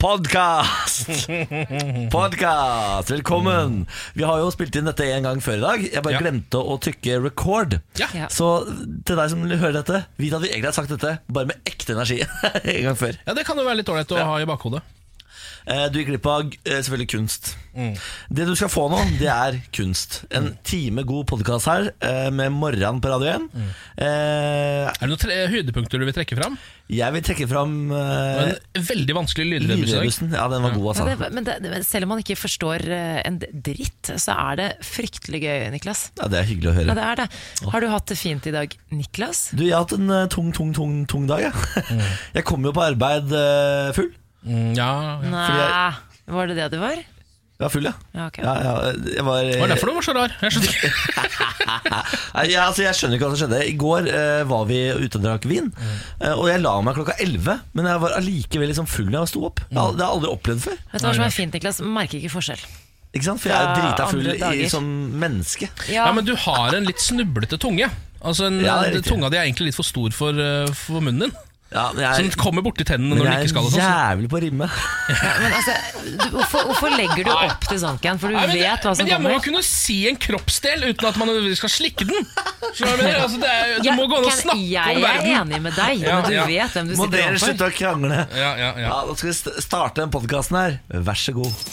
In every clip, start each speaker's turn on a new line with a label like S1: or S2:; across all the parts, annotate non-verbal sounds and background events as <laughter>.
S1: Podkast! Podkast! Velkommen! Vi har jo spilt inn dette en gang før i dag. Jeg bare
S2: Ja.
S1: glemte å trykke record.
S2: Ja.
S3: Ja.
S1: Så til deg som hører dette, vit at vi egentlig har sagt dette bare med ekte energi <laughs> en gang før.
S2: Ja, Det kan jo være litt ålreit å ha i bakhodet.
S1: Eh, Du gikk glipp av eh, selvfølgelig kunst.
S3: Mm.
S1: Det du skal få nå, det er kunst. En time god podkast her eh, med morran på Radio 1.
S3: Mm.
S1: Eh,
S2: Er det noen tre høydepunkter du vil trekke fram?
S1: Jeg vil trekke fram
S2: Det var
S1: eh,
S2: En veldig vanskelig lydrebus i dag.
S1: Lydrebussen. Ja, den var god,
S3: Ja,
S1: altså.
S3: det, men det, men selv om man ikke forstår eh, en dritt, så er det fryktelig gøy, Niklas.
S1: Ja, det er hyggelig å
S3: Ja,
S1: høre.
S3: det er det. Har du hatt det fint i dag, Niklas?
S1: Du, jeg har hatt en eh, tung, tung, tung, tung dag, jeg. <laughs> Jeg kom jo på arbeid eh, full.
S2: Mm, Ja, ja.
S3: Nei, var det det du var?
S1: Jeg var full, ja.
S3: Ja, ok.
S1: ja, ja jeg var, eh,
S2: Det var derfor du var så rar. Jeg skjønner ikke.
S1: <laughs> Nei, jeg, altså, jeg skjønner ikke hva som skjedde. I går eh, var vi ute og drakk vin,
S2: Mm.
S1: eh, og jeg la meg klokka 11. Men jeg var allikevel liksom full når jeg sto opp.
S2: Mm.
S1: Jeg, har- det har jeg aldri opplevd før.
S3: Vet du hva som er fint, Niklas? Merker ikke forskjell.
S1: Ikke sant? For jeg er
S3: Ja,
S1: drita
S3: andre
S1: full i,
S3: dager.
S1: som menneske.
S2: Ja, men du har en litt snublete tunge. Altså en,
S1: Ja, det er riktig.
S2: Tunga di er egentlig litt for stor for, eh, for munnen din.
S1: Ja, men
S2: Så
S1: jeg,
S2: den kommer borti tennene
S1: men
S2: når den
S1: jeg
S2: Sånn ikke skal. og
S1: er
S2: sånn, så-
S1: jævlig på å rimme.
S3: Ja, men altså, du, hvorfor, hvorfor legger du opp til sånt, Ken? For du
S2: Nei, men,
S3: vet hva som
S2: men jeg må
S3: kommer.
S2: jo kunne si en kroppsdel uten at man nødvendigvis skal slikke den. Skjønner du hva jeg mener? Altså, det er, jo- det
S3: Ja,
S2: må gå an å
S3: Ken,
S2: snakke
S3: jeg
S2: om verden.
S3: er enig med deg,
S2: Ja,
S3: men du
S2: ja.
S3: vet hvem du
S1: Må
S3: sitter
S1: dere
S3: overfor.
S1: slutte å krangle?
S2: Ja, ja, ja.
S1: Ja, Da skal vi st- starte den podkasten her. Vær så god.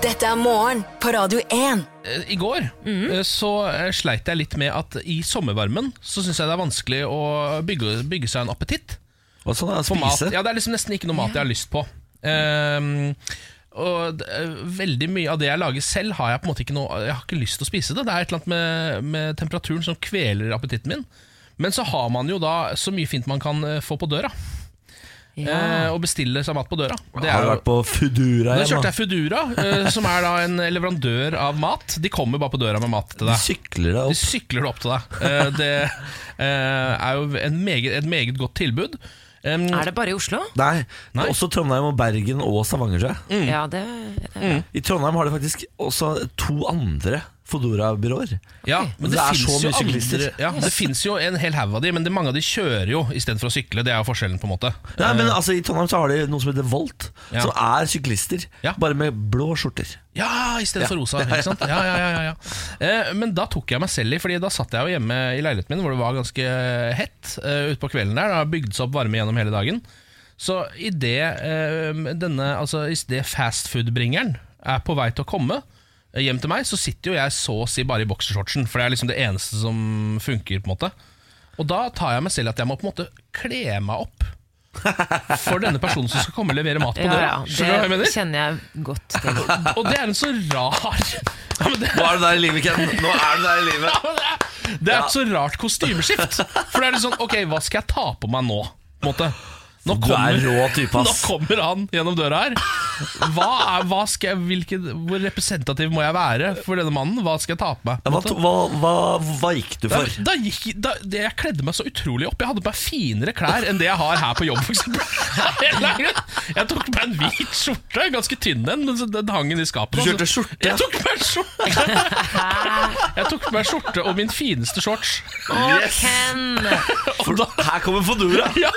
S4: Dette er morgen på Radio 1.
S2: Eh, I går
S1: Mhm.
S2: eh, så eh, sleit jeg litt med at i sommervarmen så syns jeg det er vanskelig å bygge, bygge seg en appetitt.
S1: Og sånn er det å
S2: på mat.
S1: spise.
S2: Ja, det er liksom nesten ikke noe mat jeg har lyst på. Ehm, og d- eh, veldig mye av det jeg lager selv, har jeg på en måte ikke noe Jeg har ikke lyst til å spise det. Det er et eller annet med, med temperaturen som kveler appetitten min. Men så har man jo da så mye fint man kan eh, få på døra.
S3: Ja.
S2: eh, og bestille seg mat på døra. Det
S1: Har du
S2: er jo
S1: vært på Foodora
S2: da
S1: igjen?
S2: kjørte
S1: da?
S2: jeg Foodora, eh, som er da en leverandør av mat. De kommer bare på døra med mat
S1: Du
S2: til deg.
S1: Sykler deg
S2: De
S1: opp.
S2: sykler det opp til deg. Eh, Det eh, er jo en meget, et meget godt tilbud. Um,
S1: Ah,
S3: Er det bare i Oslo?
S1: Nei,
S2: Nei.
S1: også Trondheim og Bergen og Stavanger, tror
S2: Mm.
S1: jeg.
S3: Ja, det,
S1: I Trondheim har de faktisk også to andre Fodora-byråer.
S2: Ja, men
S1: Det
S2: det,
S1: er
S2: finnes
S1: så
S2: jo
S1: mye syklister.
S2: andre- Ja, det finnes jo en hel haug av de, men det, mange av de kjører jo istedenfor å sykle. Det er jo forskjellen, på en måte.
S1: Nei, men altså I Trondheim så har de noe som heter Volt,
S2: Ja.
S1: som er syklister,
S2: Ja.
S1: bare med blå skjorter.
S2: Ja, istedenfor rosa. Ikke sant? <laughs> Ja, ja, ja, ja, ja. Eh, Men da tok jeg meg selv i, Fordi da satt jeg jo hjemme i leiligheten min hvor det var ganske hett eh, utpå kvelden der. Det har bygd seg opp varme gjennom hele dagen. Så idet eh, denne Altså i det fastfood-bringeren er på vei til å komme eh, hjem til meg, så sitter jo jeg så å si bare i boksershortsen, for det er liksom det eneste som funker. på en måte Og da tar jeg meg selv at jeg må på en måte kle meg <laughs> opp for denne personen som skal komme og levere mat på
S3: ja,
S2: døra.
S3: ja,
S2: Skjønner du hva jeg
S3: det
S2: mener?
S3: kjenner jeg godt
S2: <laughs>
S3: til.
S2: Og det er en så rar ja, men det,
S1: Nå er du der i livet, Ken. Nå er du der i <laughs> livet.
S2: men det, er, det er et så rart kostymeskift. For det er litt sånn Ok, hva skal jeg ta på meg nå? På en måte. Nå
S1: Du er
S2: kommer, <laughs>
S1: rå type,
S2: nå
S1: ass.
S2: kommer han gjennom døra her. Hva er, hva skal jeg, hvilke, hvor representativ må jeg være for denne mannen? Hva skal jeg ta på meg?
S1: Ja,
S2: på en
S1: hva,
S2: måte?
S1: hva, hva, hva gikk du
S2: Da,
S1: for?
S2: da gikk, da, det, jeg kledde meg så utrolig opp. Jeg hadde på meg finere klær enn det jeg har her på jobb. For <laughs> eksempel. jeg tok på meg en hvit skjorte, ganske tynn en, men så den hang den i
S1: Du
S2: skapet.
S1: kjørte
S2: Altså,
S1: skjorte?
S2: Jeg tok på meg skjorte
S1: <laughs>
S2: Jeg tok på meg skjorte og min fineste shorts.
S1: Yes!
S3: Ken!
S1: For her kommer Fodora!
S2: Ja,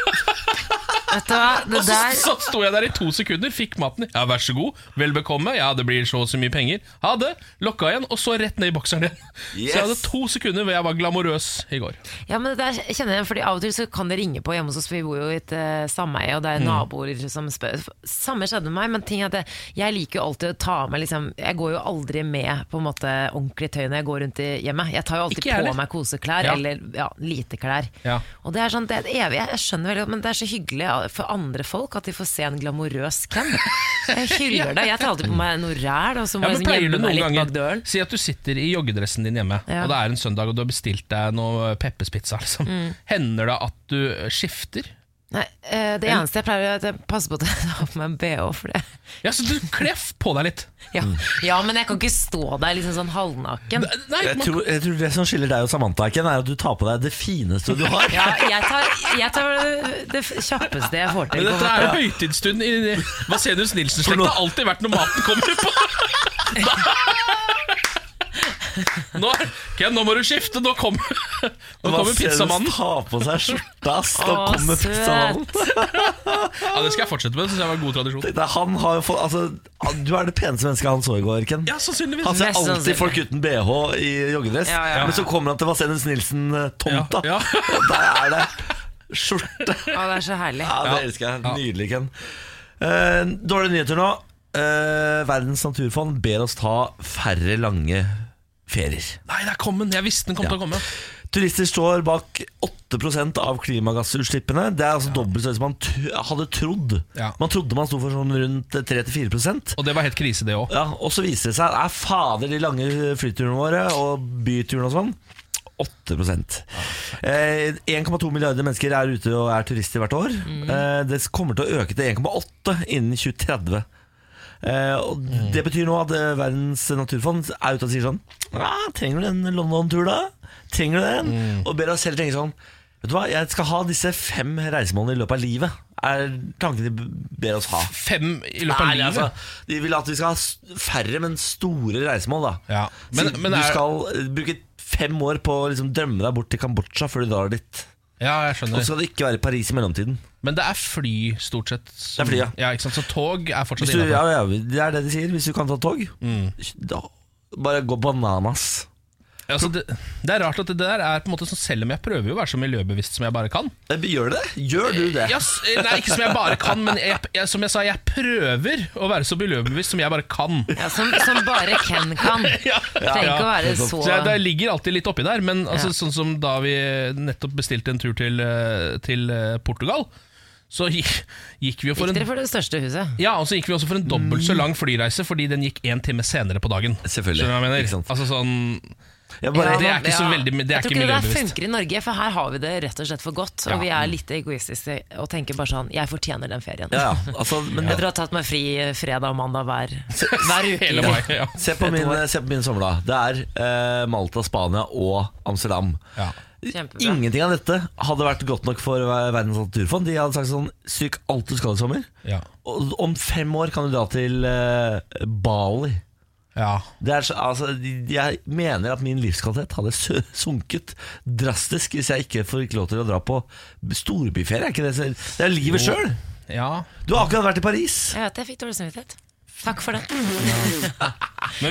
S3: Vet du hva, det
S2: og så,
S3: der
S2: så sto jeg der i to sekunder, fikk maten. Ja, vær så god, vel bekomme. Ja, det blir så og så mye penger. Ha det. Lokka igjen, og så rett ned i bokseren igjen. Så jeg hadde
S1: Yes.
S2: to sekunder hvor jeg var glamorøs i går.
S3: Ja, men det der kjenner jeg igjen, fordi Av og til så kan det ringe på hjemme hos oss, for vi bor jo i et eh, sameie, og det
S2: Mm.
S3: er naboer som spør. Samme skjedde med meg, men ting er at jeg, jeg liker jo alltid å ta med liksom, Jeg går jo aldri med på en måte ordentlig tøy når jeg går rundt i hjemmet. Jeg tar jo alltid
S2: Ikke jeg heller.
S3: på meg koseklær,
S2: Ja.
S3: eller ja, lite klær.
S2: Ja.
S3: Og det er sånn, det er et evig, jeg skjønner veldig godt, men det er så hyggelig for andre folk at de får se en glamorøs Ken.
S2: <laughs>
S3: Jeg hyller det. Jeg tar alltid på meg noe ræl, og så må
S2: Ja, men
S3: jeg liksom
S2: pleier du
S3: gjemme meg
S2: noen
S3: litt bak
S2: ganger
S3: døren.
S2: Si at du sitter i joggedressen din hjemme,
S3: Ja.
S2: og det er en søndag og du har bestilt deg noe Peppers pizza. Liksom.
S3: Mm.
S2: Hender det at du skifter?
S3: Nei, eh, det eneste jeg pleier å gjøre, er at jeg passer på at jeg <laughs> har på meg en bh, for det
S2: Ja, så du klef på deg litt.
S3: Ja. ja, men jeg kan ikke stå der liksom sånn halvnaken.
S2: Nei,
S1: Jeg
S2: man,
S1: tror, jeg tror Det som skiller deg og Samantha, Ken, er at du tar på deg det fineste du har.
S3: Ja, jeg tar, jeg tar det, det kjappeste jeg får
S2: men
S3: til. på en
S2: dette er jo høytidsstund i
S3: <laughs>
S2: Vasenius Nilsen-slekta. Det har alltid vært når maten kommer på.
S3: måte.
S2: Nå, er- Ken, nå må du skifte! Nå kommer, nå
S1: Hva
S2: kommer
S1: ser du
S2: pizzamannen!
S1: tar på seg skjorta, ass. Nå
S3: Å,
S1: kommer
S3: søt.
S1: pizzamannen.
S2: Ja, Det skal jeg fortsette med. Det synes jeg var en god tradisjon.
S1: Nei, Han har jo fått, altså, du er det peneste mennesket han så i går, Ken.
S2: Ja, sannsynligvis
S1: Han ser
S3: Mest
S1: alltid
S3: sannsynlig.
S1: folk uten bh i joggedress,
S3: Ja, ja, ja.
S1: men så kommer han til Vasenus Nilsen-tomta.
S2: Ja, ja.
S1: Og <laughs> der er det skjorte.
S2: <laughs>
S3: Å, det er så herlig.
S1: Ja, det
S2: Ja.
S1: elsker jeg.
S2: Ja.
S1: Nydelig, Ken. Eh, dårlige nyheter nå. Eh, Verdens naturfond ber oss ta færre lange ferier.
S2: Nei, der kom den! Jeg visste den kom til å komme.
S1: Turister står bak 8 av klimagassutslippene. Det er altså dobbelt så høyt som man t hadde trodd.
S2: Ja.
S1: Man trodde man sto for sånn rundt 3-4
S2: Og det var helt krise, det òg.
S1: ja, Og så viser det seg at er fader de lange flyturene våre og byturene og sånn 8 eh, 1,2 milliarder mennesker er ute og er turister hvert år. Eh, det kommer til å øke til 1,8 innen 2030. Eh, og Det betyr nå at eh, Verdens naturfond er ute og sier sånn «Ja, Trenger du en London-tur, da? Trenger du den? Og ber oss selv tenke sånn Vet du hva, jeg skal ha disse fem reisemålene i løpet av livet. Er tanken de ber oss ha.
S2: Fem i løpet av
S1: Nei,
S2: livet.
S1: altså, de vil at vi skal ha s- færre, men store reisemål. Da.
S2: Ja, men-
S1: Så du
S2: men er-
S1: skal eh, bruke fem år på å liksom, drømme deg bort til Kambodsja før du drar dit.
S2: Ja,
S1: Og
S2: jeg
S1: så
S2: skjønner.
S1: skal du ikke være i Paris i mellomtiden.
S2: Men det er fly, stort sett. som-
S1: Det er fly, ja.
S2: ikke sant? Så tog er fortsatt
S1: Hvis du,
S2: innenfor.
S1: ja, ja, det er det de sier. Hvis du kan ta tog,
S2: Mm.
S1: da, bare gå bananas.
S2: Altså, det, det er rart at det der er på en måte sånn Selv om jeg prøver jo å være så miljøbevisst som jeg bare kan.
S1: Eh, Gjør det? Gjør du det?
S2: Ja, s- nei, ikke som jeg bare kan, men jeg, jeg, som jeg sa, jeg prøver å være så miljøbevisst som jeg bare kan.
S3: Ja, som, som bare
S2: <laughs>
S3: Ken kan. Trenger ikke å være så
S2: Så jeg, Det ligger alltid litt oppi der, men altså, sånn som da vi nettopp bestilte en tur til, eh, til eh, Portugal, så gikk, gikk vi jo for en
S3: Gikk dere for det største huset?
S2: ja, og så gikk vi også for en dobbelt så lang flyreise, fordi den gikk én time senere på dagen.
S1: Mm. Selvfølgelig,
S2: Skjønner du hva jeg mener?
S1: ikke sant.
S2: Altså sånn
S1: Jeg bare,
S2: Ja, det er ikke så veldig- det er
S3: jeg tror
S2: ikke
S3: ikke det der
S2: miljøbevisst.
S3: funker i Norge, for her har vi det rett og slett for godt. Og
S2: Ja.
S3: vi er litt egoistiske og tenker bare sånn Jeg fortjener den ferien.
S1: ja, ja, altså, men,
S3: Jeg tror jeg har tatt meg fri fredag og
S2: <laughs>
S3: mandag hver, hver uke.
S2: hele mai. Ja.
S1: Se på min, se på min sommer, da. Det er eh, Malta, Spania og Amsterdam.
S2: Ja.
S3: Kjempebra.
S1: Ingenting av dette hadde vært godt nok for Verdens naturfond. De hadde sagt sånn Stryk alt du skal i sommer.
S2: Ja.
S1: Og om fem år kan du dra til eh, Bali.
S2: ja.
S1: Det er, så- altså, jeg mener at min livskvalitet hadde sø- sunket drastisk hvis jeg ikke fikk lov til å dra på storbyferie. Er ikke det, så- det er livet sjøl!
S2: Ja.
S1: Du har akkurat vært i Paris.
S3: Jeg vet det, jeg fikk dårlig samvittighet. Takk for det.
S2: Men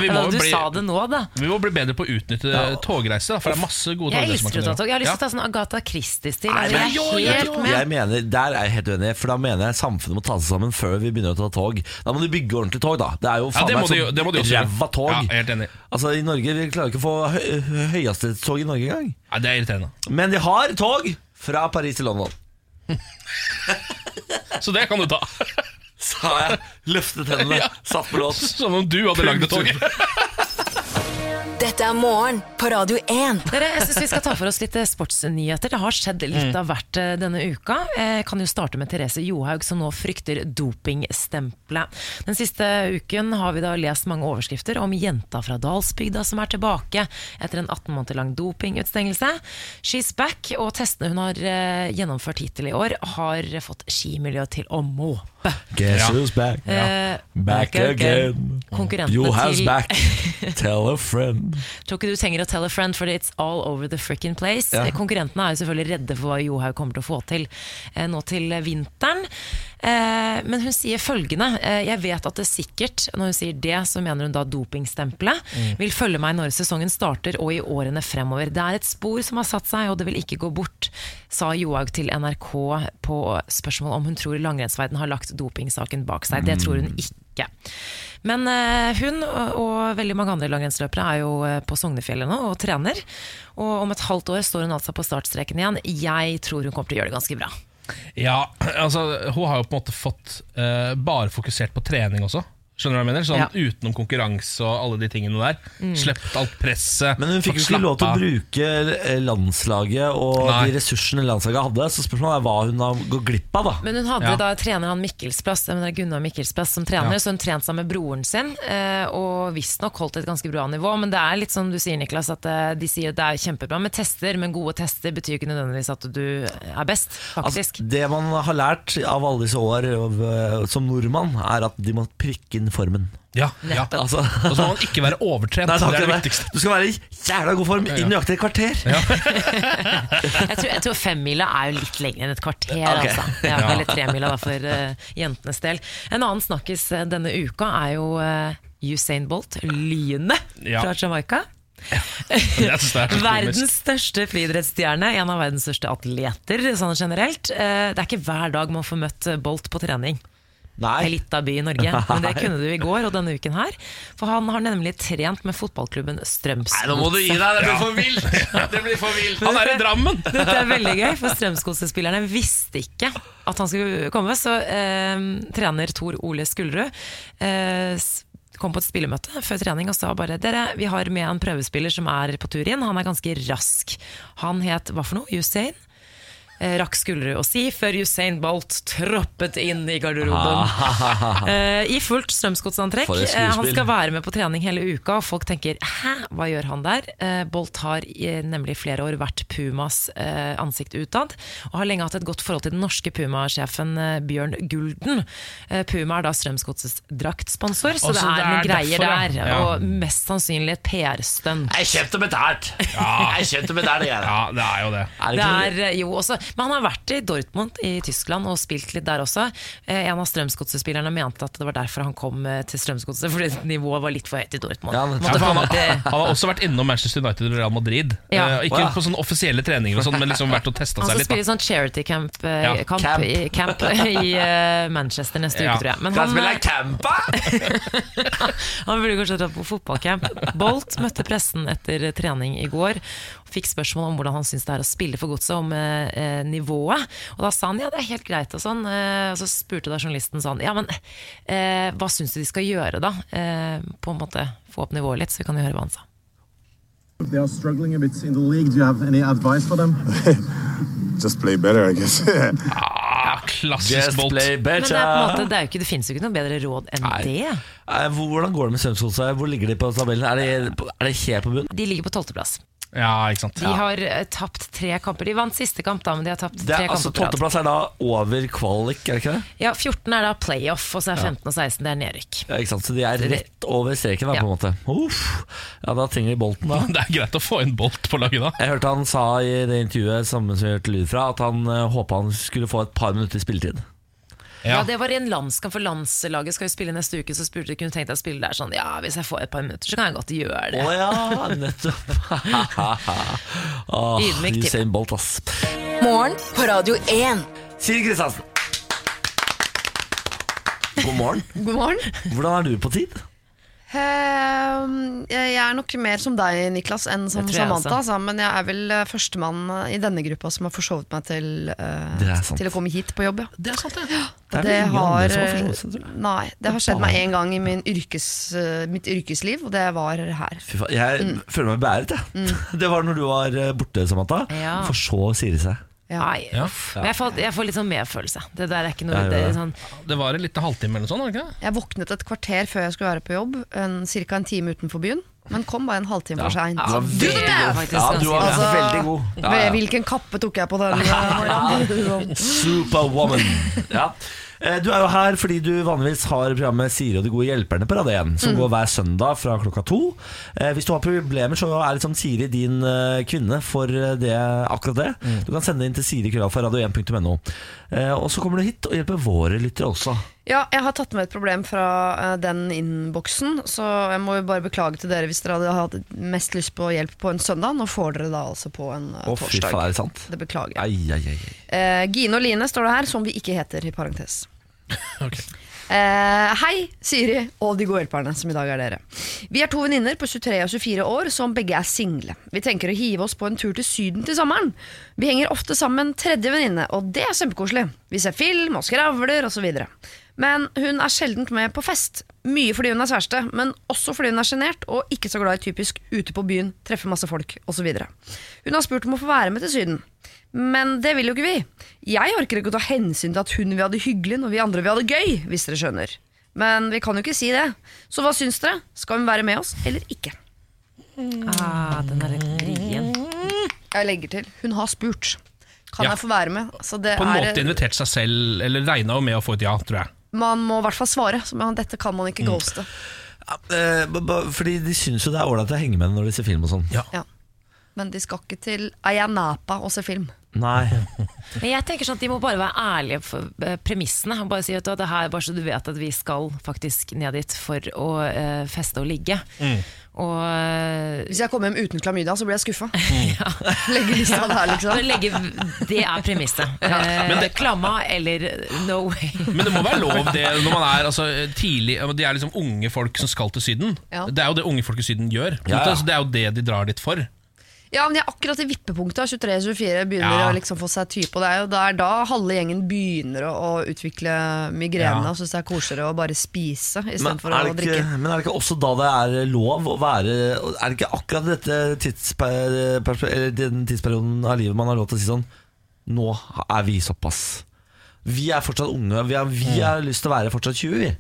S2: vi må,
S3: Ja,
S2: jo
S3: du
S2: bli,
S3: sa det nå, da.
S2: vi må bli bedre på å utnytte ja. togreiser, da, for det er masse gode
S3: Jeg
S2: togreiser man
S3: elsker å
S2: kan
S3: ta
S2: gjøre.
S3: tog. Jeg har lyst til å
S2: Ja.
S3: ta sånn Agatha Christie-stil.
S1: Nei,
S3: Altså,
S1: men-
S3: jeg er helt
S1: Jeg
S3: med.
S1: mener, Der er jeg helt uenig, for da mener jeg samfunnet må ta seg sammen før vi begynner å ta tog. Da må du bygge ordentlige tog, da. Det er jo
S2: Ja,
S1: faen
S2: det
S1: meg
S2: må de jo- det må de også gjøre.
S1: ræva tog.
S2: Ja, jeg er helt enig.
S1: Altså, i Norge, Vi klarer ikke å få hø høyhastighetstog i Norge engang.
S2: Ja, det er irriterende.
S1: Men de har tog fra Paris til London.
S2: Så det kan du ta. <laughs>
S1: Sa jeg, løftet hendene, satt på lås.
S2: Som om du hadde lagd et tog.
S4: Dette er morgen på Radio 1.
S3: Dere, jeg synes Vi skal ta for oss litt eh, sportsnyheter. Det har skjedd
S1: Mm.
S3: litt av hvert eh, denne uka. Jeg kan jo starte med Therese Johaug, som nå frykter dopingstempelet. Den siste uken har vi da lest mange overskrifter om jenta fra Dalsbygda som er tilbake etter en 18 måneder lang dopingutstengelse. She's back, og testene hun har eh, gjennomført hittil i år, har fått skimiljøet til å måpe.
S1: Guess
S2: Ja.
S1: who's back?
S3: Eh,
S1: Back again.
S3: Konkurrentene
S1: Johans
S3: til
S1: back. Tell a friend.
S3: Tror ikke du trenger å tell a friend, for it's all over the frickin' place.
S1: Ja.
S3: Konkurrentene er jo selvfølgelig redde for hva Johaug kommer til å få til eh, nå til vinteren. Eh, men hun sier følgende. Eh, jeg vet at det sikkert, når hun sier det, så mener hun da dopingstempelet, vil følge meg når sesongen starter og i årene fremover. Det er et spor som har satt seg, og det vil ikke gå bort, sa Johaug til NRK på spørsmål om hun tror langrennsverdenen har lagt dopingsaken bak seg. Det tror hun ikke. Men eh, hun og, og veldig mange andre langrennsløpere er jo eh, på Sognefjellet nå og trener. Og om et halvt år står hun altså på startstreken igjen. Jeg tror hun kommer til å gjøre det ganske bra.
S2: Ja, altså Hun har jo på en måte fått eh, bare fokusert på trening også. Skjønner du hva jeg mener? Sånn
S3: Ja. Mm.
S2: Utenom konkurranse og alle de tingene der. Slept alt presset.
S1: Men hun fikk jo
S2: fått
S1: ikke lov til
S2: slappet
S1: å
S2: av.
S1: bruke eh, landslaget og
S2: Nei.
S1: de ressursene landslaget hadde, så spørsmålet er hva hun har gått glipp av, da.
S3: Men hun hadde
S2: Ja.
S3: da trener han Mikkelsplass, jeg mener Gunnar Mikkelsplass som trener,
S2: Ja.
S3: så hun trente sammen med broren sin, eh, og visstnok holdt et ganske bra nivå. Men det er litt som du sier, Niklas, at eh, de sier at det er kjempebra med tester, men gode tester betyr jo ikke nødvendigvis at du er best, faktisk.
S1: Altså, det man har lært av alle disse år av, eh, som nordmann, er at de må prikke inn finne formen.
S2: Ja, ja. Og
S1: Altså,
S2: så må man ikke være overtrent.
S1: Nei, takk,
S2: det er det
S1: Janne.
S2: viktigste.
S1: Du skal være i jævla god form i nøyaktig et kvarter.
S3: Jeg tror, jeg tror femmila er jo litt lenger enn et kvarter.
S1: Ok.
S3: Altså. Ja, Eller tremila da, for eh, jentenes del. En annen snakkis eh, denne uka er jo eh, Usain Bolt, lynet
S2: Ja.
S3: fra Jamaica.
S2: <laughs> Jeg synes det er så komisk.
S3: Verdens største friidrettsstjerne, en av verdens største atleter sånn generelt. Eh, Det er ikke hver dag man får møtt eh, Bolt på trening. Det er
S1: Nei.
S3: litt av by i Norge, men det kunne du i går og denne uken her. For han har nemlig trent med fotballklubben Strømsgodset.
S1: gi deg, det blir for vilt! Det blir for vilt.
S2: Han er i Drammen!
S3: <laughs> Dette er veldig gøy, for Strømsgodset-spillerne visste ikke at han skulle komme. Så eh, trener Tor Ole Skullerud eh, s- kom på et spillemøte før trening og sa bare Dere, vi har med en prøvespiller som er på tur inn. Han er ganske rask. Han het hva for noe? Usain? Eh, Rakk Skullerud å si før Usain Bolt troppet inn i garderoben.
S1: Ah.
S3: Eh, I fullt Strømsgodsantrekk.
S1: For et
S3: Eh, han
S1: skuespill.
S3: skal være med på trening hele uka, og folk tenker 'hæ, hva gjør han der?' Eh, Bolt har i nemlig flere år vært Pumas eh, ansikt utad, og har lenge hatt et godt forhold til den norske Puma-sjefen eh, Bjørn Gulden. Eh, Puma er da Strømsgodsets draktsponsor, så
S2: Og
S3: det
S2: så
S3: er noen
S2: det er
S3: greier
S2: derfor,
S3: der.
S2: ja. Ja.
S3: Og mest sannsynlig et PR-stunt.
S1: Jeg kjøpte betalt! Jeg kjøpte betalt, jeg.
S2: Ja, det er jo det.
S3: Det er, eh, jo, også, men han har vært i Dortmund i Tyskland og spilt litt der også. Eh, en av Strømsgodset-spillerne mente at det var derfor han kom eh, til Strømsgodset, fordi nivået var litt for høyt i Dortmund.
S1: Ja, men-
S2: Ja,
S3: Måtte
S2: for han,
S3: komme
S2: har,
S3: til,
S2: han har også vært innom Manchester United og Real Madrid.
S3: Ja.
S2: Eh, ikke
S1: Wow.
S2: på sånne offisielle treninger, og sånn, men liksom vært og testa seg
S3: han skal
S2: litt. da.
S3: spille sånn charity camp, eh,
S2: Ja,
S3: kamp,
S1: camp.
S3: i, camp i eh, Manchester neste
S2: Ja.
S3: uke, tror jeg. Men
S1: Skal jeg
S3: han,
S1: spille
S3: eh,
S1: campa?
S3: han burde kanskje dra på fotballcamp. Bolt møtte pressen etter trening i går og fikk spørsmål om hvordan han syns det er å spille for godset, om eh, eh, nivået. Og da sa han ja, det er helt greit og sånn. Eh, og så spurte da journalisten sånn ja, men eh, hva syns du de skal gjøre da? Eh, på en måte få opp nivået litt, så vi kan jo høre hva han sa.
S5: They are struggling a bit in the league. Do you have any advice for them?
S6: just play better, I guess. <laughs>
S2: Ah, klassisk
S1: Just
S2: Bolt.
S1: play
S3: Men det, er på en måte,
S1: better.
S3: det, er jo ikke, det finnes jo ikke noe bedre råd enn
S1: Nei.
S3: det.
S1: Eh, Hvordan går det med Strømsgodset? Hvor ligger de på tabellen? Er det, er det helt på bunnen?
S3: De ligger på tolvteplass.
S2: Ja, ikke sant.
S3: De har eh, tapt tre kamper. De vant siste kamp, da, men de har tapt
S1: Det
S3: tre
S1: er, altså,
S3: kamper på rad.
S1: Tolvteplass er da over kvalik, er det ikke det?
S3: Ja, 14 er da playoff, og så er 15 og 16 det er nedrykk.
S1: Ja, ikke sant? Så de er rett over streken, da,
S3: Ja.
S1: på en måte. Uff. Ja, da trenger de bolten, da.
S2: <laughs> Det er greit å få inn Bolt på laget da.
S1: Jeg hørte han sa i det intervjuet samme som vi hørte lyd fra, at han uh, håpa han skulle få et par minutter spilletid.
S3: Ja. Det var i en landskamp, for landslaget skal jo spille neste uke. Så spurte de kunne tenkt deg å spille der sånn Ja, hvis jeg får et par minutter, så kan jeg godt gjøre
S1: Å
S3: det.
S1: ja, <laughs> nettopp. oh,
S3: Ydmyk til.
S1: Usain Bolt, ass.
S4: Morgen på Radio 1.
S1: Siri Kristiansen. God morgen.
S7: God morgen.
S1: Hvordan er du på tid?
S7: Ehm, jeg er nok mer som deg, Niklas, enn som
S3: Det tror jeg
S7: Samantha. Altså. Men jeg er vel eh, førstemann i denne gruppa som har forsovet meg til, eh,
S1: Det er sant.
S7: til å komme hit på jobb. Ja.
S2: Det er sant, det.
S1: Det er
S7: det
S1: vel ingen andre
S7: har, eh,
S1: som har forsovet seg, tror jeg.
S7: nei, det har skjedd meg én gang i min yrkes, eh, mitt yrkesliv, og det var her.
S1: Fy faen, jeg føler meg beæret, jeg. <laughs> Det var når du var eh, borte, Samantha.
S3: Ja.
S1: For så sier det seg.
S7: Ja.
S3: Nei,
S2: Ja.
S3: uff. Men jeg får, jeg får litt sånn medfølelse. Det der er
S1: Ja,
S3: ikke noe
S1: jeg
S3: det,
S1: gjør
S3: er sånn,
S2: Det var en liten halvtime eller noe sånt, var det ikke det?
S7: Jeg våknet et kvarter før jeg skulle være på jobb, ca. en time utenfor byen, men kom bare en halvtime for seint.
S1: Du var
S3: det
S1: veldig
S3: er
S1: god.
S3: faktisk
S1: Ja, du var
S3: ganske
S7: bra.
S1: veldig god. Ja, ja.
S7: Hvilken kappe tok jeg på den? eh,
S1: <laughs>
S7: morgenen?
S1: Superwoman. Ja. Eh, Du er jo her fordi du vanligvis har programmet Siri og de gode hjelperne på Radio 1,
S7: Mm.
S1: som går hver søndag fra klokka to. Eh, Hvis du har problemer, så er liksom Siri din eh, kvinne for eh, det, akkurat det.
S7: Mm.
S1: Du kan sende det inn til sirikrøllalfa.radio1.no. Eh, Og så kommer du hit og hjelper våre lyttere også.
S7: Ja, jeg har tatt med et problem fra eh, den innboksen, så jeg må jo bare beklage til dere hvis dere hadde hatt mest lyst på hjelp på en søndag. Nå får dere da altså på en eh,
S1: Å, fy
S7: torsdag.
S1: faen, er det sant?
S7: Det beklager jeg.
S1: Ai, ai, ai. ai.
S7: Eh, Gine og Line står det her, som vi ikke heter, i parentes.
S2: Ok.
S7: Eh, hei, Siri og de gode hjelperne, som i dag er dere. Vi er to venninner på 23 og 24 år som begge er single. Vi tenker å hive oss på en tur til Syden til sommeren. Vi henger ofte sammen med en tredje venninne, og det er kjempekoselig. Vi ser film og skravler osv. Men hun er sjelden med på fest. Mye fordi hun er kjæreste, men også fordi hun er sjenert og ikke så glad i typisk ute på byen, treffe masse folk osv. Hun har spurt om å få være med til Syden. Men det vil jo ikke vi. Jeg orker ikke å ta hensyn til at hun vil ha det hyggelig når vi andre vil ha det gøy, hvis dere skjønner. Men vi kan jo ikke si det. Så hva syns dere? Skal hun være med oss eller ikke?
S3: ah, Den er litt vrien.
S7: Jeg legger til hun har spurt. Kan
S2: Ja.
S7: jeg få være med? Så det
S2: På en
S7: er
S2: måte invitert seg selv, eller regna jo med å få et ja, tror jeg.
S7: man må i hvert fall svare. Så man, dette kan man ikke
S2: Mm.
S7: ghoste.
S1: Eh, b- b- Fordi de syns jo det er ålreit å henge med når de ser film og sånn.
S2: Ja.
S7: Ja. Men de skal ikke til Ayanapa og se film.
S1: Nei.
S3: Men jeg tenker sånn at De må bare være ærlige for eh, premissene. Og Bare si at det her, bare så du vet at vi skal faktisk ned dit for å eh, feste og ligge.
S1: Mm.
S3: Og eh,
S7: Hvis jeg kommer hjem uten klamydia, så blir jeg skuffa. <laughs> Legger lista
S3: <laughs>
S7: der,
S3: bare
S7: liksom.
S3: legge, det er premisset. Eh, Klamma eller no way.
S2: Men det må være lov det når man er altså, tidlig De er liksom unge folk som skal til Syden.
S7: Ja.
S2: Det er jo det unge folk i Syden gjør.
S1: Ja, ja.
S2: Altså, det er jo det de drar dit for.
S7: Ja, men jeg er akkurat i vippepunktet. 23-24 begynner
S2: Ja.
S7: å liksom få seg type. Og det er jo der da halve gjengen begynner å, å utvikle migrene
S2: Ja.
S7: og syns det er koseligere å bare spise
S1: Men
S7: istedenfor
S1: er,
S7: å
S1: det ikke,
S7: drikke.
S1: men er det ikke også da det er lov å være Er det ikke akkurat dette tidsper, perspe- eller den tidsperioden av livet man har lov til å si sånn Nå er vi såpass. Vi er fortsatt unge. Vi, er, vi har lyst til å være fortsatt 20, vi.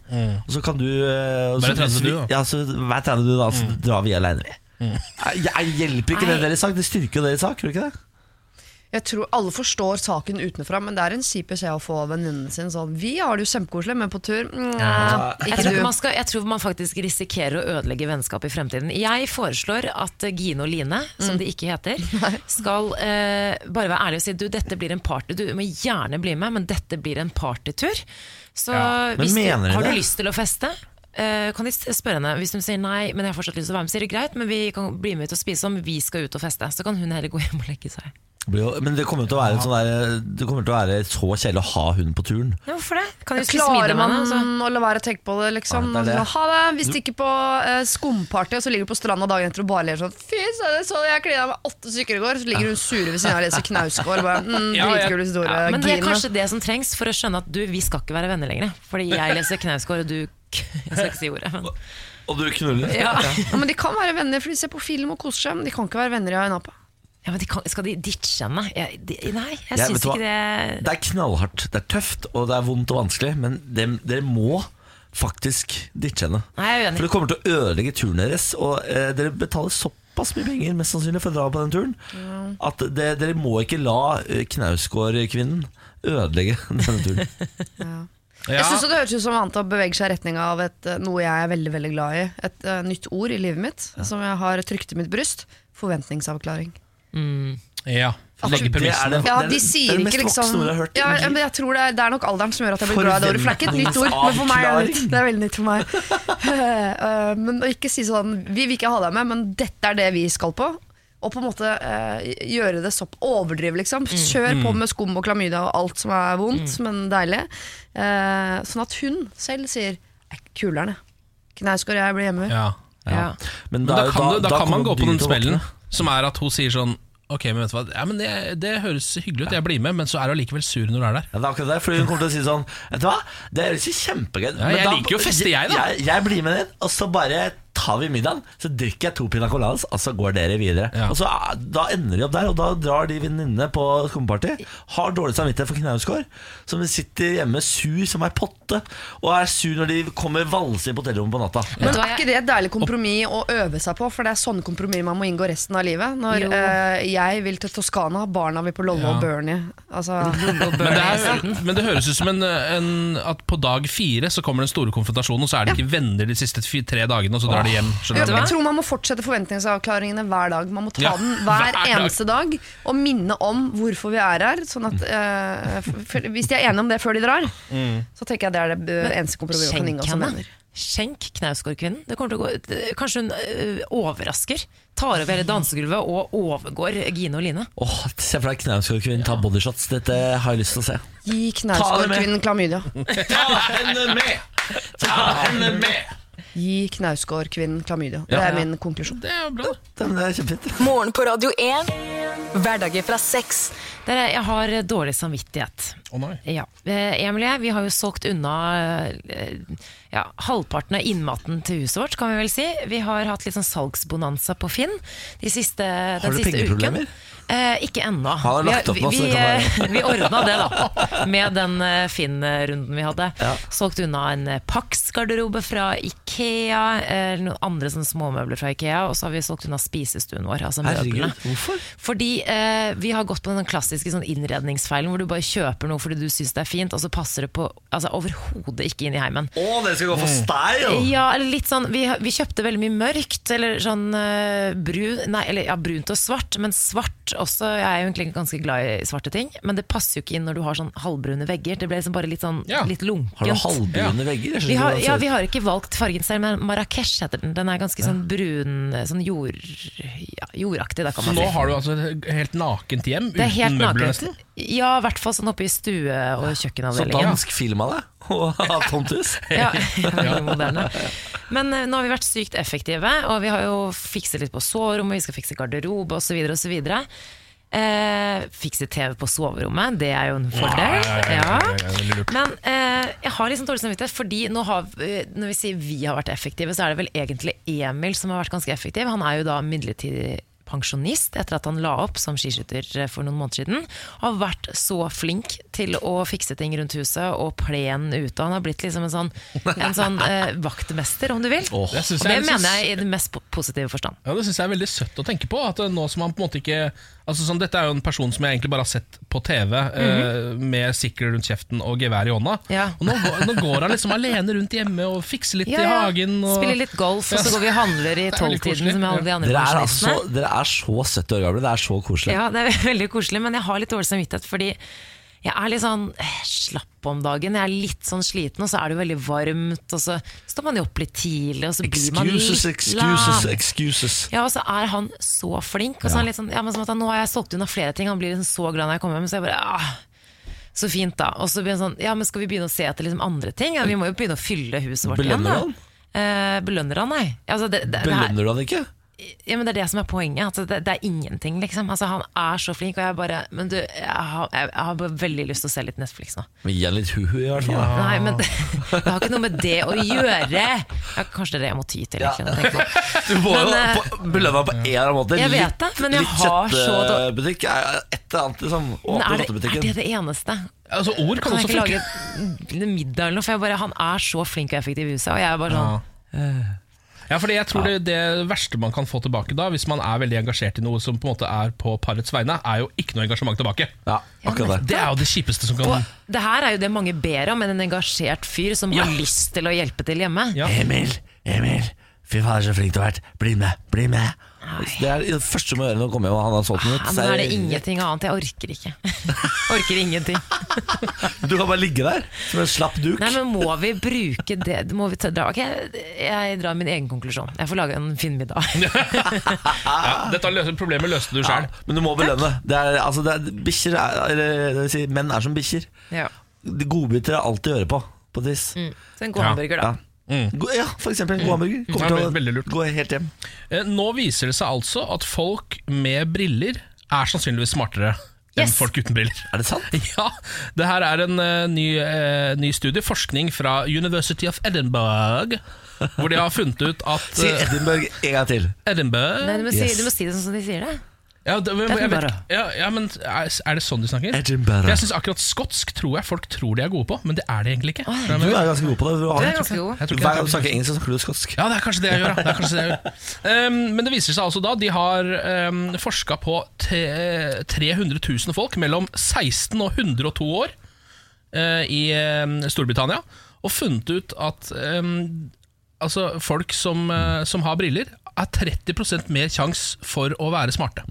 S1: Og så kan du eh, og så
S2: Være 30
S1: plutselig-
S2: du, da.
S1: Ja, så vær 30 du, da, så drar vi aleine, vi. Jeg, jeg hjelper ikke det
S3: Nei.
S1: deres sak. Det styrker jo deres sak, gjør det ikke det?
S7: Jeg tror alle forstår saken utenfra, men det er en kjip beskjed å få av venninnen sin. Sånn, vi har det jo kjempekoselig, men på tur mm,
S3: Jeg
S7: Ikke
S3: tror, ikke
S7: du.
S3: man skal, jeg tror man faktisk risikerer å ødelegge vennskap i fremtiden. Jeg foreslår at Gine og Line, som de ikke heter, skal eh, bare være ærlige og si du, dette blir en party, du må gjerne bli med, men dette blir en partytur. Så
S2: Ja.
S1: Men
S3: hvis du,
S1: mener de
S3: har du
S1: det?
S3: lyst til å feste? Eh, kan de s- spørre henne Hvis hun sier nei, men jeg har fortsatt lyst til å være med, sier det greit, men vi kan bli med ut og spise om vi skal ut og feste. Så kan hun heller gå hjem og legge seg.
S1: Blir jo- Men det kommer jo til å være, en sånn der, det kommer til å være så kjedelig å ha hun på turen.
S3: Ja, hvorfor det? Kan de spise
S7: Klarer
S3: middag med
S7: man
S3: henne? altså?
S7: å la være å tenke på det, liksom?
S1: Ja, det er det.
S7: Ha det! Vi stikker på eh, skumparty, og så ligger du på stranda dagen etter og bare ler sånn Fy søren, så jeg klina med åtte stykker i går! Så ligger hun sure ved siden av og leser Knausgård. og Bare, mm,
S2: Ja, jeg-
S7: dritkul historie,
S3: <laughs> Ja, men det er
S7: Gine.
S3: kanskje det som trengs for å skjønne at du, vi skal ikke være venner lenger. Fordi jeg leser Knausgård, og du <laughs> Jeg skal ikke si ordet, men
S1: Og du knuller?
S3: ja.
S7: Ja, men de kan være venner, for de ser på film og koser seg, men de kan ikke være venner i Ayanapa.
S3: ja men de kan, Skal de ditche henne? Jeg, de, nei, jeg
S1: Ja, vet
S3: syns
S1: du hva?
S3: ikke det
S1: Det er knallhardt, det er tøft, og det er vondt og vanskelig, men dem- dere må faktisk ditche henne.
S3: Nei, jeg er
S1: For
S3: uenig.
S1: det kommer til å ødelegge turen deres, og eh, dere betaler såpass mye penger mest sannsynlig for å dra på den turen, at det, dere må ikke la eh, Knausgård-kvinnen ødelegge <laughs> denne
S3: <laughs>
S1: turen.
S2: Ja.
S7: Jeg synes det høres ut som annet å bevege seg i retning av et, eh, noe jeg er veldig veldig glad i. Et eh, nytt ord i livet mitt, som jeg har trykt i mitt bryst. Forventningsavklaring.
S3: Mm.
S2: ja. Legge
S1: Det er
S2: premissene.
S1: det-
S7: Ja,
S1: det er-
S7: de sier
S1: det er det
S7: ikke
S1: mest
S7: liksom
S1: voksne ordet jeg har hørt i
S7: ja,
S1: mitt liv.
S7: men jeg tror det er, det er nok alderen som gjør at jeg blir glad i det ordet. For det er ikke et nytt ord, men for meg er det nytt. Det er veldig nytt for meg. <laughs> Eh, men å ikke si sånn Vi vil ikke ha deg med, men dette er det vi skal på. Og på en måte eh, gjøre det sopp overdrive,
S1: Mm.
S7: liksom. Kjør på med skum og klamydia og alt som er vondt, men deilig. Eh, sånn at hun selv sier «Nei, Kuler'n, jeg. Knausgård, jeg blir hjemme.
S2: Ja.
S3: Ja.
S1: Men
S2: Men da kan, du, da kan man
S1: kommer
S2: gå på
S1: dyret
S2: den
S1: til å våkne.
S2: smellen som er at hun sier sånn Ok, men vet du hva ja, men det, det høres hyggelig ut, jeg blir med, men så er du allikevel sur når du er der.
S1: Ja, det er akkurat det, fordi Hun kommer til å si sånn Vet du hva, det høres jo kjempegøy ut,
S2: Ja,
S1: men
S2: jeg liker jo å feste, jeg, da.
S1: Jeg, jeg blir med ned, og så bare tar vi middagen. Så drikker jeg to pina coladas, og så går dere videre.
S2: Ja.
S1: Og så ah, Da ender de opp der, og da drar de venninnene på skumparty. Har dårlig samvittighet for Knausgård, som sitter hjemme sur som ei potte, og er sur når de kommer valsende inn på hotellrommet på natta.
S7: Men
S3: Vet du hva,
S7: er ikke det et deilig kompromiss å øve seg på? For det er sånne kompromiss man må inngå resten av livet. Når
S3: Jo.
S7: eh, jeg vil til Toskana, barna vil på Lollo
S2: Ja.
S7: og Bernie. Altså,
S2: Men det, er, men det høres ut som en, en, at på dag fire så kommer den store konfrontasjonen, og så er de ikke venner de siste fi- tre dagene, og så drar de hjem.
S7: jeg,
S2: Skjønner du?
S7: jeg tror man må fortsette forventningsavklaringene hver dag. Man må ta
S2: Ja,
S7: den hver,
S2: hver dag.
S7: eneste dag og minne om hvorfor vi er her. Sånn at, eh, f- for, hvis de er enige om det før de drar, så tenker jeg det er det eh, eneste kompromisset man kan
S3: Skjenk
S7: inngå som
S3: henne.
S7: venner.
S3: Skjenk Knausgård-kvinnen. Det kommer til å gå- det- Kanskje hun øh, overrasker. Tar over hele dansegulvet og overgår Gine og Line.
S1: Åh, Se for deg Knausgård-kvinnen ta bodyshots. Dette har jeg lyst til å se.
S7: Gi
S1: Ta det med.
S7: Knausgård-kvinnen klamydia.
S1: Ta henne med! Ta henne med!
S7: Gi Knausgård-kvinnen klamydia. Det er min konklusjon.
S2: Det er jo bra, det.
S1: Det er kjempefint.
S4: Morgen på Radio 1. Hverdager fra seks.
S3: Dere, jeg har eh, dårlig samvittighet.
S2: Å nei.
S3: Ja. Eh, Emilie, vi har jo solgt unna eh, ja, halvparten av innmaten til huset vårt, kan vi vel si. Vi har hatt litt sånn salgsbonanza på Finn de siste, den
S1: du
S3: siste
S1: pengeproblemer?
S3: uken. Eh, ikke ennå.
S1: Han har lagt opp
S3: vi,
S1: nå, så
S3: vi,
S1: det kan
S3: eh, vi ordna det, da. Med den eh, Finn-runden vi hadde. Solgt unna en eh, Pax-garderobe fra IKEA. Ikea, eller noen andre sånne småmøbler fra Ikea, og så har vi solgt unna spisestuen vår. Altså
S1: Herregud,
S3: møblene.
S1: hvorfor?
S3: Fordi eh, vi har gått på den klassiske sånn innredningsfeilen hvor du bare kjøper noe fordi du syns det er fint, og så passer det på altså, overhodet ikke inn i heimen.
S1: Å, det skal gå for
S2: Mm.
S1: style!
S3: Ja, eller litt sånn Vi, vi kjøpte veldig mye mørkt, eller sånn eh, brun Nei, eller ja, brunt og svart, men svart også. Jeg er jo egentlig ganske glad i svarte ting, men det passer jo ikke inn når du har sånn halvbrune vegger. Det ble liksom bare litt sånn
S2: Ja.
S3: litt lunkent.
S1: Har du halvbrune vegger? Jeg
S3: Vi
S1: skjønner
S3: har,
S1: ikke
S3: ja,
S1: hvordan det
S3: vi
S1: ser ut.
S3: har ikke valgt fargen selv, men Marrakech heter den. Den er ganske sånn brun, sånn jord, ja, jordaktig. Der kan
S2: Så
S3: man
S2: nå
S3: si.
S2: har du altså et helt nakent hjem
S3: Det er helt
S2: uten møbler, nesten?
S3: nakent. Ja, i hvert fall sånn oppe i stue- og
S1: Så
S3: kjøkkenavdelingen.
S1: dansk film av deg
S3: <laughs>
S1: og har tomt hus?
S3: Ja, veldig moderne. Men eh, nå har vi vært sykt effektive, og vi har jo fikset litt på soverommet, vi skal fikse garderobe osv. osv. Eh, fikse TV på soverommet, det er jo en fordel.
S2: Ja, ja, ja, ja, ja, ja, veldig lurt.
S3: Men eh, jeg har liksom dårlig samvittighet, fordi nå har, eh, når vi sier vi har vært effektive, så er det vel egentlig Emil som har vært ganske effektiv. Han er jo da midlertidig pensjonist etter at han la opp som skiskytter eh, for noen måneder siden. Har vært så flink til å fikse ting rundt huset og plenen ute. Han har blitt liksom en sånn, en sånn
S1: <laughs>
S3: eh, vaktmester, om du vil.
S2: Åh, det synes
S3: og
S2: jeg
S3: det
S2: er litt
S3: mener
S2: sånn-
S3: jeg i den mest po- positive forstand.
S2: Ja, Det syns jeg er veldig søtt å tenke på. At eh, nå som han på en måte ikke Altså sånn, Dette er jo en person som jeg egentlig bare har sett på TV, eh, med sikkel rundt kjeften og gevær i hånda.
S3: Mhm. Ja.
S2: Og nå, går- nå går han liksom alene rundt hjemme og fikser litt i
S3: Ja, ja.
S2: hagen. Og,
S3: Spiller litt golf, og
S2: Ja.
S3: så går vi og handler
S2: Det er
S3: i
S2: veldig
S3: tolvtiden
S2: koselig.
S3: som alle de andre
S1: Dere er,
S3: pensjonistene.
S1: altså, dere er så 70 år gamle. Det er så koselig.
S3: Ja, det er <laughs> veldig koselig, men jeg har litt dårlig samvittighet fordi jeg er litt sånn eh, slapp om dagen. Jeg er litt sånn sliten, og så er det jo veldig varmt, og så står man jo opp litt tidlig, og så blir man
S1: Excuses,
S3: litt
S1: excuses,
S3: lam.
S1: excuses.
S3: Ja, og så er han så flink. Og så er han litt sånn, ja, men som at han, nå har jeg solgt unna flere ting, han blir liksom så glad når jeg kommer hjem, så jeg bare ah, så fint, da. Og så blir han sånn, ja, men skal vi begynne å se etter liksom andre ting? Ja, vi må jo begynne å fylle huset vårt igjen.
S1: Belønner
S3: da.
S1: du han?
S3: Eh, belønner han, nei. Altså, det, det, det er,
S1: Belønner du han ikke?
S3: ja, men Det er det som er poenget. Altså, det, det er ingenting, liksom. Altså, han er så flink, og jeg bare Men du, jeg har, jeg, jeg har bare veldig lyst til å se litt Netflix nå.
S1: Men Gi han litt hu-hu, i hvert fall. da.
S3: Nei, men det, det har ikke noe med det å gjøre! Ja, kanskje det er det jeg må ty til, egentlig. når jeg tenker på det.
S1: <laughs> Du må jo
S3: Men, eh,
S1: på- belønne ham på en eller annen måte.
S3: Jeg vet det, men jeg har så dår-
S1: kjøttbutikk er et eller annet. Liksom,
S3: Men
S1: åpne
S3: er, det, er det
S1: godtebutikken.
S3: det eneste?
S2: Altså Ord kan,
S3: Kan jeg
S2: også
S3: ikke lage
S2: funke.
S3: en middag eller noe? For jeg bare, han er så flink og effektiv i huset, og jeg er bare sånn
S2: Ja, fordi jeg tror det, det verste man kan få tilbake da, hvis man er veldig engasjert i noe som på en måte er på parets vegne, er jo ikke noe engasjement tilbake.
S1: Ja, akkurat det.
S2: Det er jo det kjipeste som kan
S3: Og det her er jo det mange ber om, men en engasjert fyr som har lyst til å hjelpe til hjemme.
S2: Ja.
S1: Emil, Emil, fy fader så flink du har vært. Bli med, bli med. Det er det første du må gjøre når du kommer hjem og han har solgt den ut.
S3: Ja,
S1: så
S3: Ah, men er det ingenting annet? Jeg orker ikke. <laughs> orker ingenting.
S1: Du kan bare ligge der som en slapp duk.
S3: Nei, men må vi bruke det? Må vi ta, dra? Ok, jeg drar min egen konklusjon. Jeg får lage en fin middag. ah.
S2: ja, Dette lø- problemet løste du
S1: ja,
S2: sjøl.
S1: men du må belønne. Det er, altså, det er, bikkjer er, eller, det vil si, menn er som bikkjer.
S3: <laughs> Ja.
S1: De Godbiter er alt å gjøre på. På tiss.
S2: Mm.
S3: Så en god hamburger, da.
S1: Ja. Go- ja, for eksempel. God hamburger. Kommer
S2: Ja,
S1: til
S2: veldig lurt.
S1: å gå helt hjem.
S2: Eh, Nå viser det seg altså at folk med briller er sannsynligvis smartere enn
S3: Yes.
S2: folk uten briller. <laughs>
S1: Er det sant?
S2: Ja, det her er en eh, ny, eh, ny studie, forskning fra University of Edinburgh, hvor de har funnet ut at
S1: Si
S2: eh,
S1: Edinburgh en gang til.
S3: Nei, du,
S2: Edinburgh
S3: må si,
S1: Yes.
S3: du må si det sånn som de sier det.
S2: ja, det, men, jeg vet,
S3: Edinburgh.
S2: ikke- ja, ja, men er, er det sånn de snakker?
S1: Edinburgh.
S2: Jeg synes akkurat skotsk tror jeg folk tror de er gode på, men det er de egentlig ikke.
S1: Du er ganske god på det. Du har
S3: Du
S1: det.
S3: er ganske god.
S2: Jeg tror ikke
S1: Hver
S2: det
S1: gang
S2: er-
S1: du snakker engelsk, så snakker du skotsk.
S2: Ja, det er kanskje det jeg gjør. Da. Det er kanskje det jeg gjør. Ehm, men det viser seg altså da, de har um, forska på te, 300 000 folk mellom 16 og 102 år eh, i ehm, Storbritannia, og funnet ut at ehm, altså, folk som, eh, som har briller, er 30 mer sjanse for å være smarte.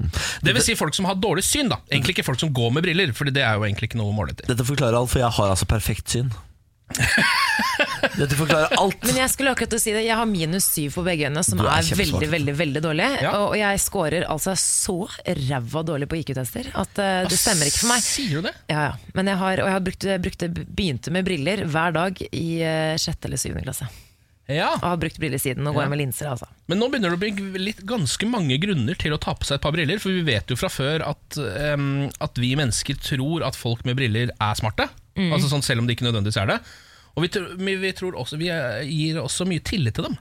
S2: Det vil si folk som har dårlig syn, da. Egentlig ikke folk som går med briller, Fordi det er jo egentlig ikke noe å måle etter.
S1: Dette forklarer alt, for jeg har altså perfekt
S2: <laughs>
S1: syn. Dette forklarer alt.
S3: Men jeg skulle akkurat til å si det. Jeg har minus syv på begge øynene, som
S1: Du er
S3: er,
S1: kjempesvak.
S3: veldig veldig, veldig dårlig.
S2: Ja.
S3: Og og jeg scorer altså så ræva dårlig på IQ-tester at eh, det stemmer ikke for meg.
S2: Sier du det?
S3: Ja, ja. Men jeg har, og jeg har brukt, brukte, begynte med briller hver dag i eh, sjette eller syvende klasse.
S2: Ja.
S3: Og har brukt briller siden. Nå går jeg med linser, altså.
S2: Men nå begynner det å bli litt, ganske mange grunner til å ta på seg et par briller. For vi vet jo fra før at, em, at vi mennesker tror at folk med briller er smarte.
S3: Mm.
S2: Altså sånn Selv om de ikke nødvendigvis er det. Og vi, tr- vi, vi, tror også, vi eh, gir også mye tillit til dem.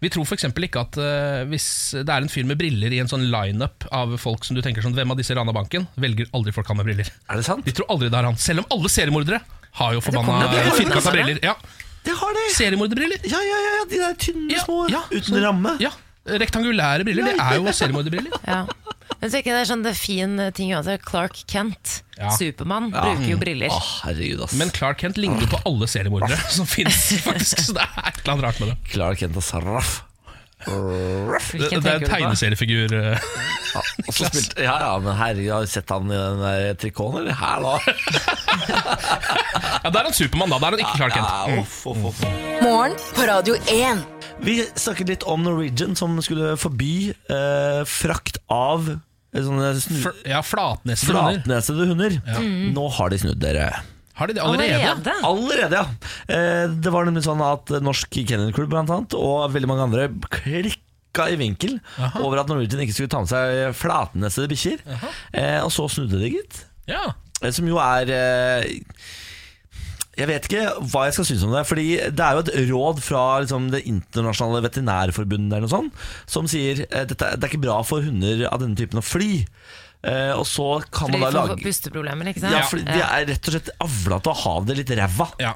S2: Vi tror f.eks. ikke at eh, hvis det er en fyr med briller i en sånn lineup av folk som du tenker sånn Hvem av disse rana banken? Velger aldri folk han med briller.
S1: Er det sant?
S2: De tror aldri det er han. Selv om alle seriemordere har jo forbanna
S3: kommer jo
S2: eh,
S3: briller.
S2: firkanta briller. Ja.
S1: Det har de!
S2: Seriemorderbriller.
S1: Ja, ja, ja, ja, de der tynne
S2: Ja,
S1: små
S2: ja,
S1: uten
S2: sånn-
S1: ramme.
S2: Ja. Rektangulære briller. Det er jo seriemorderbriller.
S3: Ja. Men så er ikke det sånn det er fin ting uansett. Clark Kent,
S2: Ja. Mm.
S3: Supermann, bruker jo briller.
S1: Å, herregud, ass.
S2: Men Clark Kent ligner jo på alle seriemordere som fins, faktisk. Så det er et eller annet rart med det.
S1: Clark Kent og Sarraf.
S2: Det, det er en
S3: Hvilken tenker du på?
S2: tegneseriefigur. eh.
S1: Ja, og så spilte, ja, ja, men herregud, har du sett han i den der trikoten, eller? Her, <laughs> da.
S2: Ja, det er en Supermann, da. Det er han ikke Clark Kent. Mm.
S1: Ja, off, off, off.
S4: Morgen på Radio 1.
S1: Vi snakket litt om Norwegian, som skulle forby eh, frakt av eh, sånne snu...
S2: Fl- Ja, Flatnesede hunder.
S1: Flatnesede hunder. Nå har de snudd dere.
S2: Har de det allerede?
S3: Allerede?
S1: Allerede, ja. Eh, Det var nemlig sånn at Norsk Kennel Club blant annet, og veldig mange andre klikka i vinkel over at Norwegian ikke skulle ta med seg flatnessede bikkjer. Eh, Og så snudde de, gitt.
S2: Ja.
S1: Eh, Som jo er eh, Jeg vet ikke hva jeg skal synes om det. Fordi det er jo et råd fra liksom, Det internasjonale veterinærforbundet eller noe sånt, som sier eh, dette, det er ikke bra for hunder av denne typen å fly. Eh, og så kan
S3: Fordi
S1: man da
S3: de får
S1: lage
S3: pusteproblemer, ikke sant?
S1: ja, fordi De er rett og slett avla til å ha det litt ræva.
S2: ja.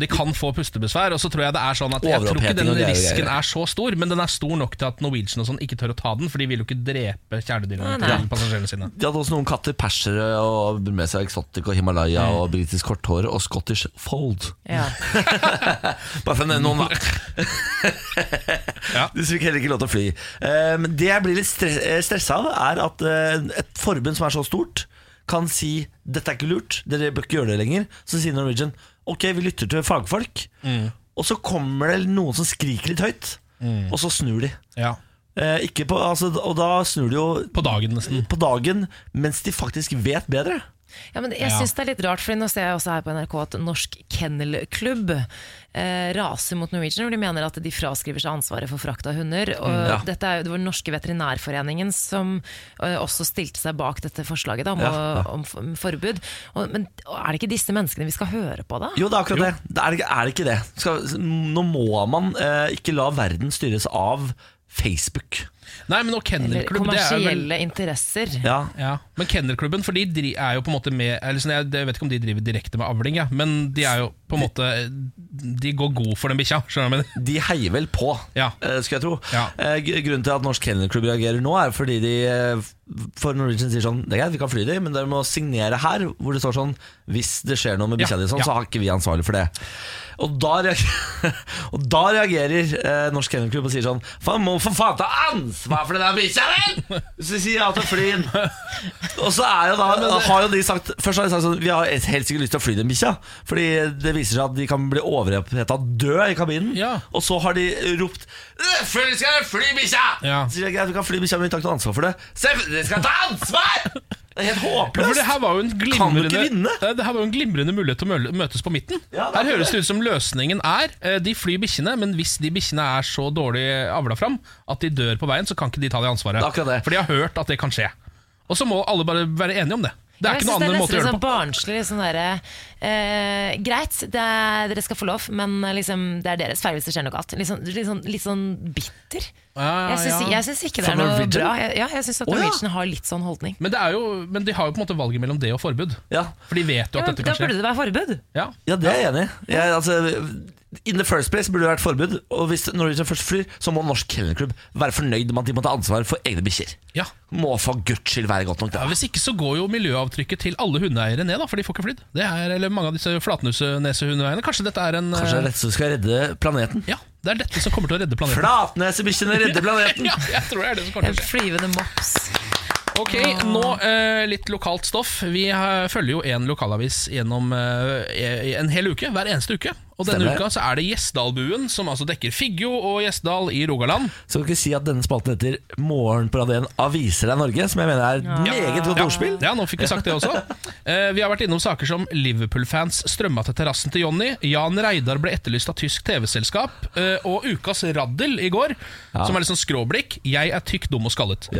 S2: De kan få pustebesvær. Og så tror jeg det er sånn at Jeg tror ikke
S1: Overoppheting
S2: den
S1: og greier,
S2: risken
S1: greier.
S2: er så stor, men den er stor nok til at Norwegian og sånn ikke tør å ta den, for de vil jo ikke drepe kjæledyrene
S3: Nei, nei.
S2: til passasjerene sine.
S1: De hadde også noen katter, persere, og Burmesa Exotic og Himalaya og britisk korthår og Scottish Fold.
S3: Ja.
S1: Bare for å nevne noen, da.
S2: Ja.
S1: Du fikk heller ikke lov til å fly. Eh, men det jeg blir litt stre- eh, stressa av, er at eh, et forbund som er så stort, kan si 'dette er ikke lurt, dere bør ikke gjøre det lenger'. Så sier Norwegian 'ok, vi lytter til fagfolk'. Og så kommer det noen som skriker litt høyt, og så snur de.
S2: Ja.
S1: Eh, ikke på, altså, og da snur de jo
S2: På dagen, nesten.
S1: på dagen mens de faktisk vet bedre.
S3: Ja, men jeg
S2: Ja.
S3: synes det er litt rart, for nå ser jeg også her på NRK at Norsk Kennelklubb eh, raser mot Norwegian, hvor de mener at de fraskriver seg ansvaret for frakt av hunder. Og
S2: Mm,
S1: ja.
S3: dette er jo det var den norske veterinærforeningen som eh, også stilte seg bak dette forslaget da, om,
S1: Ja, ja.
S3: å- om, f- om forbud. Og, men og er det ikke disse menneskene vi skal høre på da?
S1: Jo, det er akkurat det. det er, ikke- er det ikke det. Skal, nå må man eh, ikke la verden styres av Facebook.
S2: Nei, men og
S3: Eller
S2: kennelklubb, det er jo vel
S3: kommersielle interesser.
S1: Ja,
S2: Ja, Men kennelklubben, for de dri- er jo på en måte med eller sånn, Jeg jeg vet ikke om de driver direkte med avling, ja, men de er jo på en måte De går god for den bikkja. Skjønner du hva jeg mener?
S1: De heier vel på,
S2: Ja.
S1: eh, skulle jeg tro.
S2: Ja.
S1: Eh, gr- Grunnen til at Norsk Kennel Club reagerer nå, er fordi de eh, f- for Norwegian sier sånn Det er greit, vi kan fly de, men dere må signere her, hvor det står sånn Hvis det skjer noe med
S2: Ja,
S1: bikkja di, sånn,
S2: ja.
S1: så har ikke vi ansvarlig for det. Og da, reagerer, <laughs> og da reagerer eh, Norsk Kennel Club og sier sånn Faen, må for faen ta ansvar for det der bikkja, vel! Så de sier ja til å fly den. Og så er jo da, har jo de sagt Først har de sagt sånn Vi har helt sikkert lyst til å fly den bikkja Fordi det viser seg at de kan bli overhettet død i kabinen
S2: Ja.
S1: Og så har de ropt Selvfølgelig skal dere fly bikkja
S2: Ja.
S1: Så sier jeg greit, vi kan fly bikkja Men vi tar ikke noe ansvar for det Selvfølgelig skal dere ta ansvar Det er helt
S2: Ja, For
S1: håpløst
S2: det her var jo en
S1: Kan du
S2: glimrende,
S1: ikke vinne?
S2: Nei, det her var jo en glimrende mulighet til å møl- møtes på midten.
S1: Ja, det er
S2: her høres det ut som løsningen er eh, de flyr bikkjene, men hvis de bikkjene er så dårlig avla fram at de dør på veien, så kan ikke de ta det ansvaret.
S1: Det er akkurat det.
S2: For de har hørt at det kan skje. Og så må alle bare være enige om det. Det er
S3: Jeg
S2: ikke noen
S3: synes
S2: annen måte å
S3: nesten
S2: gjøre
S3: litt
S2: det på.
S3: sånn barnslig. Sånn derre, eh, greit, det er, dere skal få lov, men eh, liksom, det er deres feil hvis det skjer noe galt. Litt sånn, litt sånn, litt sånn bitter.
S2: Ja,
S3: jeg, syns,
S2: ja.
S3: jeg syns ikke det
S1: For
S3: er noe
S1: Norwegian?
S3: bra. Jeg, ja, jeg syns
S1: Å,
S3: at
S1: ja.
S3: Norwegian har litt sånn holdning.
S2: Men, det er jo, men de har jo på en måte valget mellom det og forbud.
S1: ja.
S2: For de vet jo at
S3: Ja, men,
S2: dette
S3: da
S2: kan skje.
S3: burde det være forbud.
S2: Ja.
S1: ja, det er jeg enig i. jeg, altså, In the first place burde det vært forbud Og hvis Norwegian først flyr Så må Norsk Kennel Club være fornøyd med at de må ta ansvar for egne bikkjer
S2: Ja.
S1: Må for Guds skyld være godt nok da
S2: Ja, hvis ikke så går jo miljøavtrykket til alle hundeeiere ned, da, for de får ikke flydd. Det er, eller mange av disse flatnusenesehundeeierne. Kanskje dette er en
S1: Kanskje det
S2: eh,
S1: er dette som skal redde planeten?
S2: Ja, det er dette som kommer til å redde planeten.
S1: Flatnesebikkjene redder
S2: <laughs>
S1: planeten!
S2: Ja, jeg tror det er det som kommer til
S3: En
S2: å skje.
S3: flyvende mops.
S2: Ok, Nå eh, litt lokalt stoff. Vi eh, følger jo en lokalavis gjennom eh, en hel uke. Hver eneste uke. Og denne
S1: Stemmer.
S2: uka så er det Gjesdalbuen, som altså dekker Figgjo og Gjesdal i Rogaland.
S1: Skal vi ikke si at denne spalten heter Morgen på Radio 1 aviser deg Norge? Som jeg mener er et meget godt ordspill.
S2: Ja, nå fikk vi sagt det
S1: <laughs>
S2: også. Eh, vi har vært innom saker som Liverpool-fans strømma til terrassen til Jonny, Jan Reidar ble etterlyst av tysk TV-selskap, eh, og ukas raddel i går, som er litt sånn skråblikk, 'Jeg er tykk, dum og skallet'.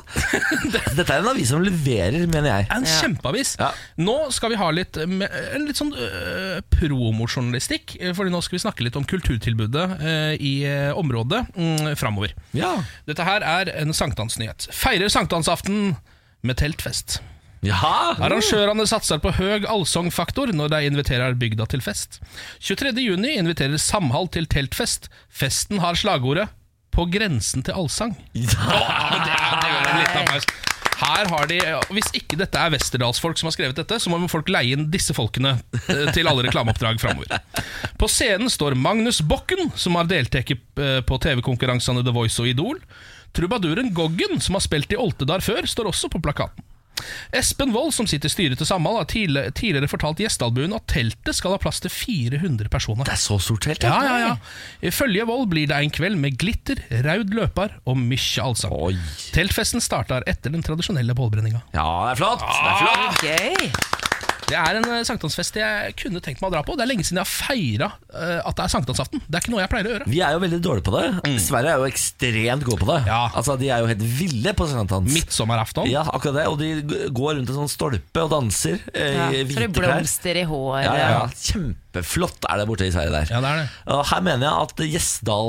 S1: Dette er en avis som leverer, mener jeg.
S2: er en kjempeavis.
S1: Ja.
S2: Nå skal vi ha litt, eh, med- en litt sånn øh, promojournalistikk, eh, Fordi nå skal vi snakke litt om kulturtilbudet eh, i eh, området mm, framover.
S1: Ja.
S2: Dette her er en sankthansnyhet. Feirer sankthansaften med teltfest.
S1: Jaha!
S2: Arrangørene satser på høg allsangfaktor når de inviterer bygda til fest. 23. juni inviterer Samhall til teltfest. Festen har slagordet 'På grensen til allsang'. Ja, det, det gjør en liten applaus. Her har de, Hvis ikke dette er Westerdalsfolk som har skrevet dette, så må folk leie inn disse folkene eh, til alle reklameoppdrag framover. På scenen står Magnus Bokken, som har deltatt eh, på TV-konkurransene The Voice og Idol. Trubaduren Goggen, som har spilt i Oltedar før, står også på plakaten. Espen Wold, som sitter i styret til Samhold, har tidle- tidligere fortalt gjestealbuen at teltet skal ha plass til 400 personer.
S1: Det er så stort helt,
S2: Ja, ja, ja. Ifølge Vold blir det en kveld med glitter, raud løper og mykje allsang.
S1: Oi.
S2: Teltfesten starter etter den tradisjonelle bålbrenninga.
S1: Ja, det er flott! Det er
S2: Ah.
S1: flott.
S3: Gøy!
S2: Det er en eh, sankthansfest jeg kunne tenkt meg å dra på. Det er lenge siden jeg har feira eh, at det er sankthansaften. Det er ikke noe jeg pleier å gjøre.
S1: Vi er jo veldig dårlige på det. Sverige er jo ekstremt gode på det.
S2: Mm. Ja.
S1: Altså, De er jo helt ville på sankthans.
S2: Midtsommeraften.
S1: Ja, akkurat det. Og de g- går rundt en sånn stolpe og danser eh,
S3: Ja.
S1: i
S3: Så det
S1: hvite klær.
S3: blomster i håret.
S1: Ja, ja, ja. Kjempeflott er det borte i Sverige der.
S2: Ja, det er det.
S1: Og her mener jeg at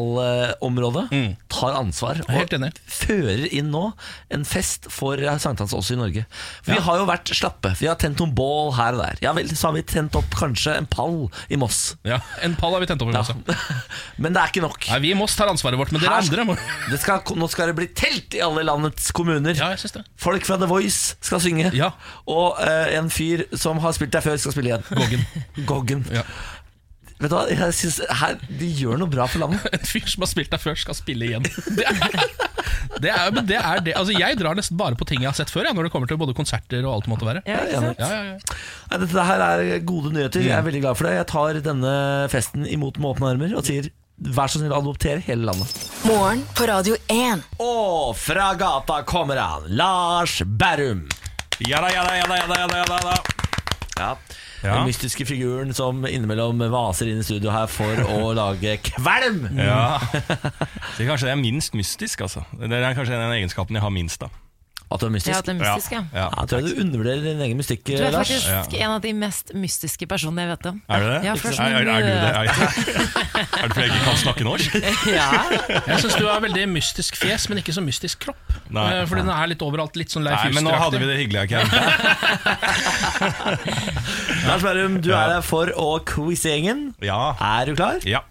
S1: Gjesdal-området tar ansvar og
S2: Mm. helt enig.
S1: fører inn nå en fest for eh, sankthans også i Norge. For Vi har jo vært slappe. Vi har tent noen bål her og der. Ja vel, så har vi tent opp kanskje en pall i Moss. <laughs>
S2: Ja, En pall har vi tent opp i
S1: Ja.
S2: Moss. ja.
S1: Men det er ikke nok.
S2: Nei, Vi i Moss tar ansvaret vårt, men dere
S1: Her-
S2: andre må
S1: Det skal, nå skal det bli telt i alle landets kommuner.
S2: Ja, jeg syns det.
S1: Folk fra The Voice skal synge.
S2: Ja.
S1: Og eh, en fyr som har spilt der før, skal spille igjen.
S2: Goggen.
S1: <laughs> Goggen.
S2: Ja.
S1: Vet du hva, jeg synes her, De gjør noe bra for landet.
S2: En fyr som har spilt der før, skal spille igjen. Det er, det er, men det er det. Altså, jeg drar nesten bare på ting jeg har sett før, ja, når det kommer til både konserter og alt det måtte være.
S3: Ja, ikke sant?
S2: Ja, ja, ja.
S1: Nei, dette her er gode nyheter. Jeg er veldig glad for det. Jeg tar denne festen imot med åpne armer og sier vær så snill, adopter hele landet.
S4: Morgen på Radio 1.
S1: Og fra gata kommer han, Lars Berrum.
S8: Jada, jada, jada, jada, jada, jada, jada.
S1: Ja.
S8: Ja.
S1: Den mystiske figuren som innimellom vaser inn i studio her for å <laughs> lage kvelm.
S8: Ja. Mm. <laughs> Det er kanskje det er minst mystisk, altså. Det er kanskje den egenskapen jeg har minst av.
S1: At du er mystisk.
S3: Ja, at det er mystisk, ja.
S8: Ja.
S1: Ja, jeg tror jeg du undervurderer din egen mystikk,
S3: Du er
S1: Lars.
S3: faktisk en av de mest mystiske personene jeg vet om.
S8: Er du det?
S3: Ja,
S8: er,
S3: først eh,
S8: er, er du det?
S3: når
S8: Er, <laughs> er det fordi jeg ikke kan snakke
S3: <laughs>
S8: norsk?
S2: Jeg syns du har veldig mystisk fjes, men ikke så mystisk kropp.
S8: Nei.
S2: Eh, Fordi den er litt overalt, litt sånn Leif
S8: Nei, men nå hadde vi det hyggelig, ikke
S1: Lars Berrum, du er her for å quize gjengen.
S8: <laughs> Ja.
S1: Er du klar?
S8: ja.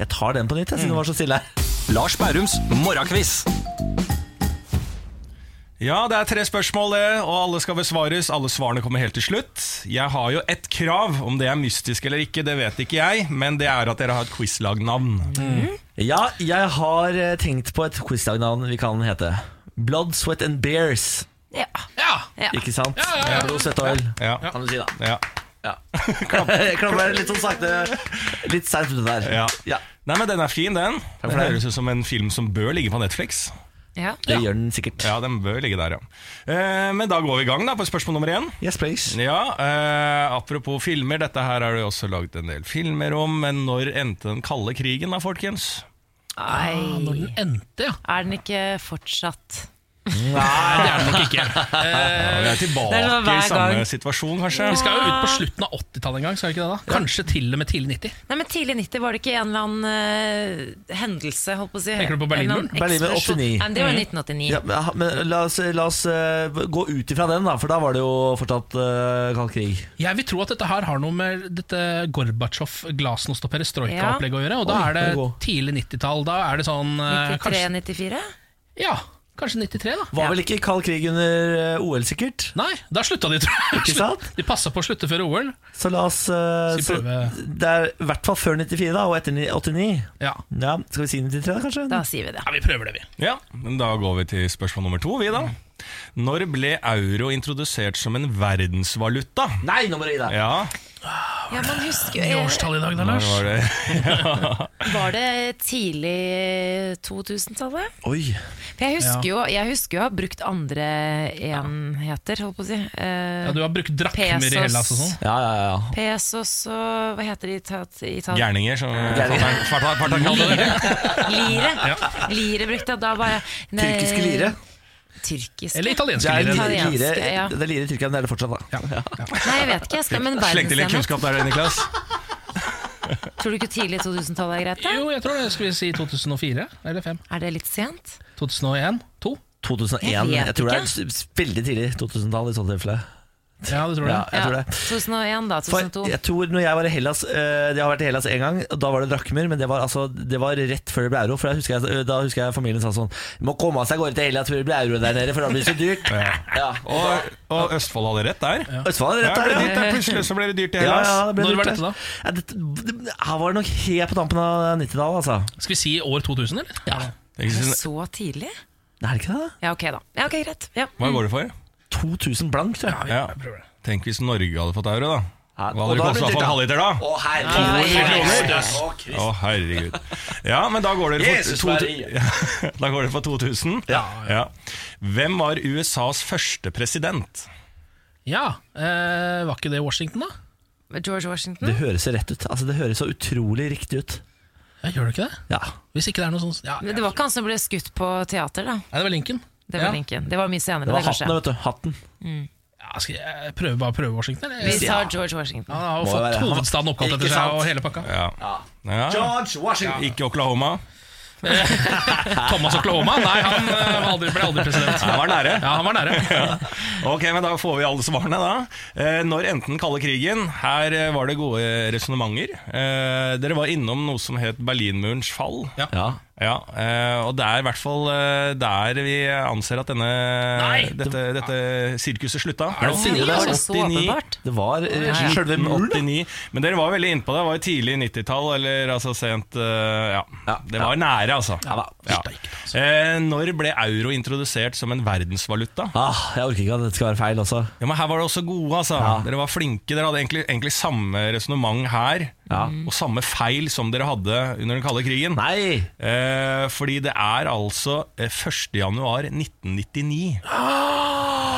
S1: Jeg tar den på nytt, jeg,
S8: Mm.
S1: siden det var så stille her.
S9: Lars Bærums morgenkviss.
S8: Ja, det er tre spørsmål, det, og alle skal besvares. Alle svarene kommer helt til slutt. Jeg har jo ett krav. Om det er mystisk eller ikke, det vet ikke jeg, men det er at dere har et quizlagnavn.
S3: Mm.
S1: Ja, jeg har eh, tenkt på et quizdagnavn vi kan hete. Blood, Sweat and Bears.
S3: Ja.
S2: Ja,
S3: Ja.
S1: Ikke sant? Eh,
S2: ja, ja.
S1: Blod, svette og øl,
S8: Ja.
S1: kan du si da.
S8: ja.
S2: <laughs>
S1: Ja. <laughs> Jeg klamrer litt sånn sakte Litt seint ute der.
S8: Ja.
S1: Ja,
S8: Nei, men den er fin, den. Den
S1: det.
S8: høres ut som en film som bør ligge på Netflix.
S3: Ja.
S1: Det gjør den sikkert.
S8: Ja, den bør ligge der, ja. Eh, men da går vi i gang da på spørsmål nummer én.
S1: Yes, please.
S8: Ja, eh, Apropos filmer, dette her har du også lagd en del filmer om. Men når endte den kalde krigen da, folkens?
S3: Nei.
S2: Den endte, ja.
S3: Er den ikke fortsatt
S2: Nei, det er den nok ikke.
S8: Ja, vi er
S3: det er
S8: tilbake
S3: sånn hver
S8: i samme
S3: gang.
S8: situasjon, kanskje.
S2: Vi skal jo ut på slutten av 80-tallet en gang, skal vi ikke det? da? Kanskje til og med tidlig 90.
S3: Nei, men Tidlig 90 var det ikke en eller annen eh, hendelse? Holdt på å si.
S2: Tenker du på Mm.
S3: En eller annen
S2: Berlinmuren?
S1: Berlinmuren
S3: eksplosjon.
S1: 89.
S3: Nei, men det var 1989.
S1: Ja, men, men la oss, la oss eh, gå ut ifra den, da, for da var det jo fortsatt eh, kald krig.
S2: Jeg vil tro at dette her har noe med dette Gorbatsjov-glasnost og perestrojka-opplegget å gjøre. Og da
S1: Oi,
S2: er det
S1: det er god.
S2: tidlig 90-tall. Da er det sånn eh, kanskje,
S3: 93-94?
S2: Ja, kanskje 93, da.
S1: Var vel ikke kald krig under eh, OL, sikkert?
S2: Nei, da slutta de, tror jeg.
S1: Ikke sant?
S2: De passa på å slutte før OL.
S1: Så la oss eh,
S2: Skal vi
S1: så,
S2: prøve?
S1: Det er i hvert fall før 94, da, og etter ni- 89.
S2: Ja.
S1: Ja, Skal vi si 93, da, kanskje?
S3: Da sier vi det.
S2: ja, vi prøver det, vi.
S8: Ja, men Da går vi til spørsmål nummer to, vi da. Når ble euro introdusert som en verdensvaluta?
S1: Nei, nå må du gi deg!
S8: Ja,
S3: Ja, man husker
S2: Ah. I
S3: jo
S2: årstall i dag, da,
S8: når
S2: Lars.
S8: var det?
S3: Var det tidlig 2000-tallet?
S1: Oi.
S3: For jeg husker, jo, jeg husker jo å ha brukt andre enheter, holdt på å si. Eh,
S2: Ja, du har brukt drakmer i
S3: Pesos.
S2: Hellas og sånn.
S1: Ja, ja, ja.
S3: Pesos og hva heter det i Ita- i Italia?
S8: Gærninger, som
S1: Gærninger.
S8: farteren- farteren farteren kalte
S2: <laughs>
S8: det.
S3: Lire. Lire brukte jeg da bare nei,
S1: Tyrkiske lire.
S3: Tyrkiske?
S2: Eller italienske
S1: Det er
S2: lire.
S1: lire,
S3: Italienske, ja.
S1: det er lire i Tyrkia, men det er det fortsatt, da.
S3: Nei, jeg vet ikke. Jeg skal, men
S8: Sleng til
S3: verdensenhet.
S8: litt kunnskap der, Niklas.
S3: Tror du ikke tidlig 2000-tallet er greit? da?
S2: Jo, jeg tror det. Skal vi si 2004? Eller 5?
S3: Er det litt sent?
S2: 2001? 2?
S1: 2001.
S3: Jeg
S1: Jeg,
S3: vet
S1: tror det er
S3: ikke.
S1: s- veldig tidlig 2000-tall i så tilfelle.
S2: Ja, det tror jeg.
S1: Ja, jeg tror det.
S3: 2001, da.
S1: For
S3: 2002.
S1: jeg tror når jeg var i Hellas eh, Jeg har vært i Hellas en gang og Da var det drakmer Men det var, altså, det var rett før det ble euro For da husker jeg, eh, da husker jeg familien sa sånn Må komme seg gårde til Hellas før det blir euro der nede For da blir det så dyrt ja.
S8: Og, og Østfold hadde rett der. Ja.
S1: Østfold er
S8: det
S1: rett der
S8: ble dyrt,
S1: ja.
S8: der. Plutselig så ble det dyrt
S1: Ja,
S8: i Hellas.
S1: ja, det ble
S2: Når
S1: dyrt,
S2: var
S1: ja.
S2: dette da?
S1: Ja, dette, det, her var det nok helt på tampen av 90-tallet altså.
S2: Skal vi si år 2000, eller? Ja.
S8: Ikke sant?
S3: Så tidlig?
S1: Det er det ikke det da?
S3: Ja, ok, da. Ja, ok, Greit. Ja.
S8: Hva går det for?
S1: 2000 blankt tror jeg.
S8: Ja. Tenk hvis Norge hadde fått euro, da.
S1: Ja, og
S8: Hva hadde det
S1: da blir
S8: kosta
S1: det
S8: for en halvliter da?
S3: Ah.
S1: Å
S3: Ja,
S1: herregud
S3: ja, ja.
S8: Å, herregud. Ja, men da går dere
S1: Jesus
S8: for, to,
S1: Maria.
S8: <laughs> ja, da går dere for 2000. Ja. Hvem var USAs første president?
S2: ja. Eh, var ikke det Washington, da?
S3: Mm. George Washington?
S1: Det høres rett ut Altså det høres så utrolig riktig ut
S2: Ja, gjør det ikke det?
S1: Ja
S2: Hvis ikke det er noe sånn ja,
S3: Men det var ikke han som ble skutt på teater, da.
S2: Nei, det var Lincoln.
S3: Det var
S2: ja.
S3: Lincoln. Det var mye senere,
S1: Det
S3: det,
S1: var hatten
S3: kanskje.
S1: vet du Hatten
S2: Ja, skal jeg prøve, bare prøve Washington? Eller?
S3: Vi sa
S1: Ja.
S3: George Washington.
S2: Han har jo
S1: Må
S2: fått
S1: være. Han-
S2: hovedstaden oppkalt
S1: Ikke
S2: etter
S1: sant?
S2: seg og hele pakka.
S8: Ja. Ja.
S1: George Washington
S8: Ikke Oklahoma.
S2: Thomas Oklahoma? Nei, han eh, var aldri, ble aldri president.
S8: Han var nære.
S2: Ja, han var nære.
S8: Ok, men Da får vi alle svarene. da eh, Når endte den kalde krigen? Her eh, var det gode resonnementer. Eh, dere var innom noe som het Berlinmurens fall.
S2: Ja.
S1: Ja
S8: Ja, eh, Og det er i hvert fall eh, der vi anser at denne,
S2: Nei!
S8: dette, dette sirkuset slutta.
S1: Er det sier du det?
S3: Var det så
S8: 89.
S3: åpenbart?
S1: Det var eh,
S3: Ja, ja.
S1: selve muren
S8: 89. Men dere var veldig inne på det. Det var jo tidlig 90-tall, eller altså sent eh, Ja.
S1: Ja,
S8: Det var nære, altså.
S1: Ja da. altså.
S8: Eh, når ble euro introdusert som en verdensvaluta?
S1: Ah, jeg orker ikke at dette skal være feil også.
S8: Ja, men Her var det også gode. altså Dere var flinke. Dere hadde egentlig, egentlig samme resonnement her, og samme feil som dere hadde under den kalde krigen.
S1: Nei!
S8: Eh, fordi det er altså eh, 1. januar 1999.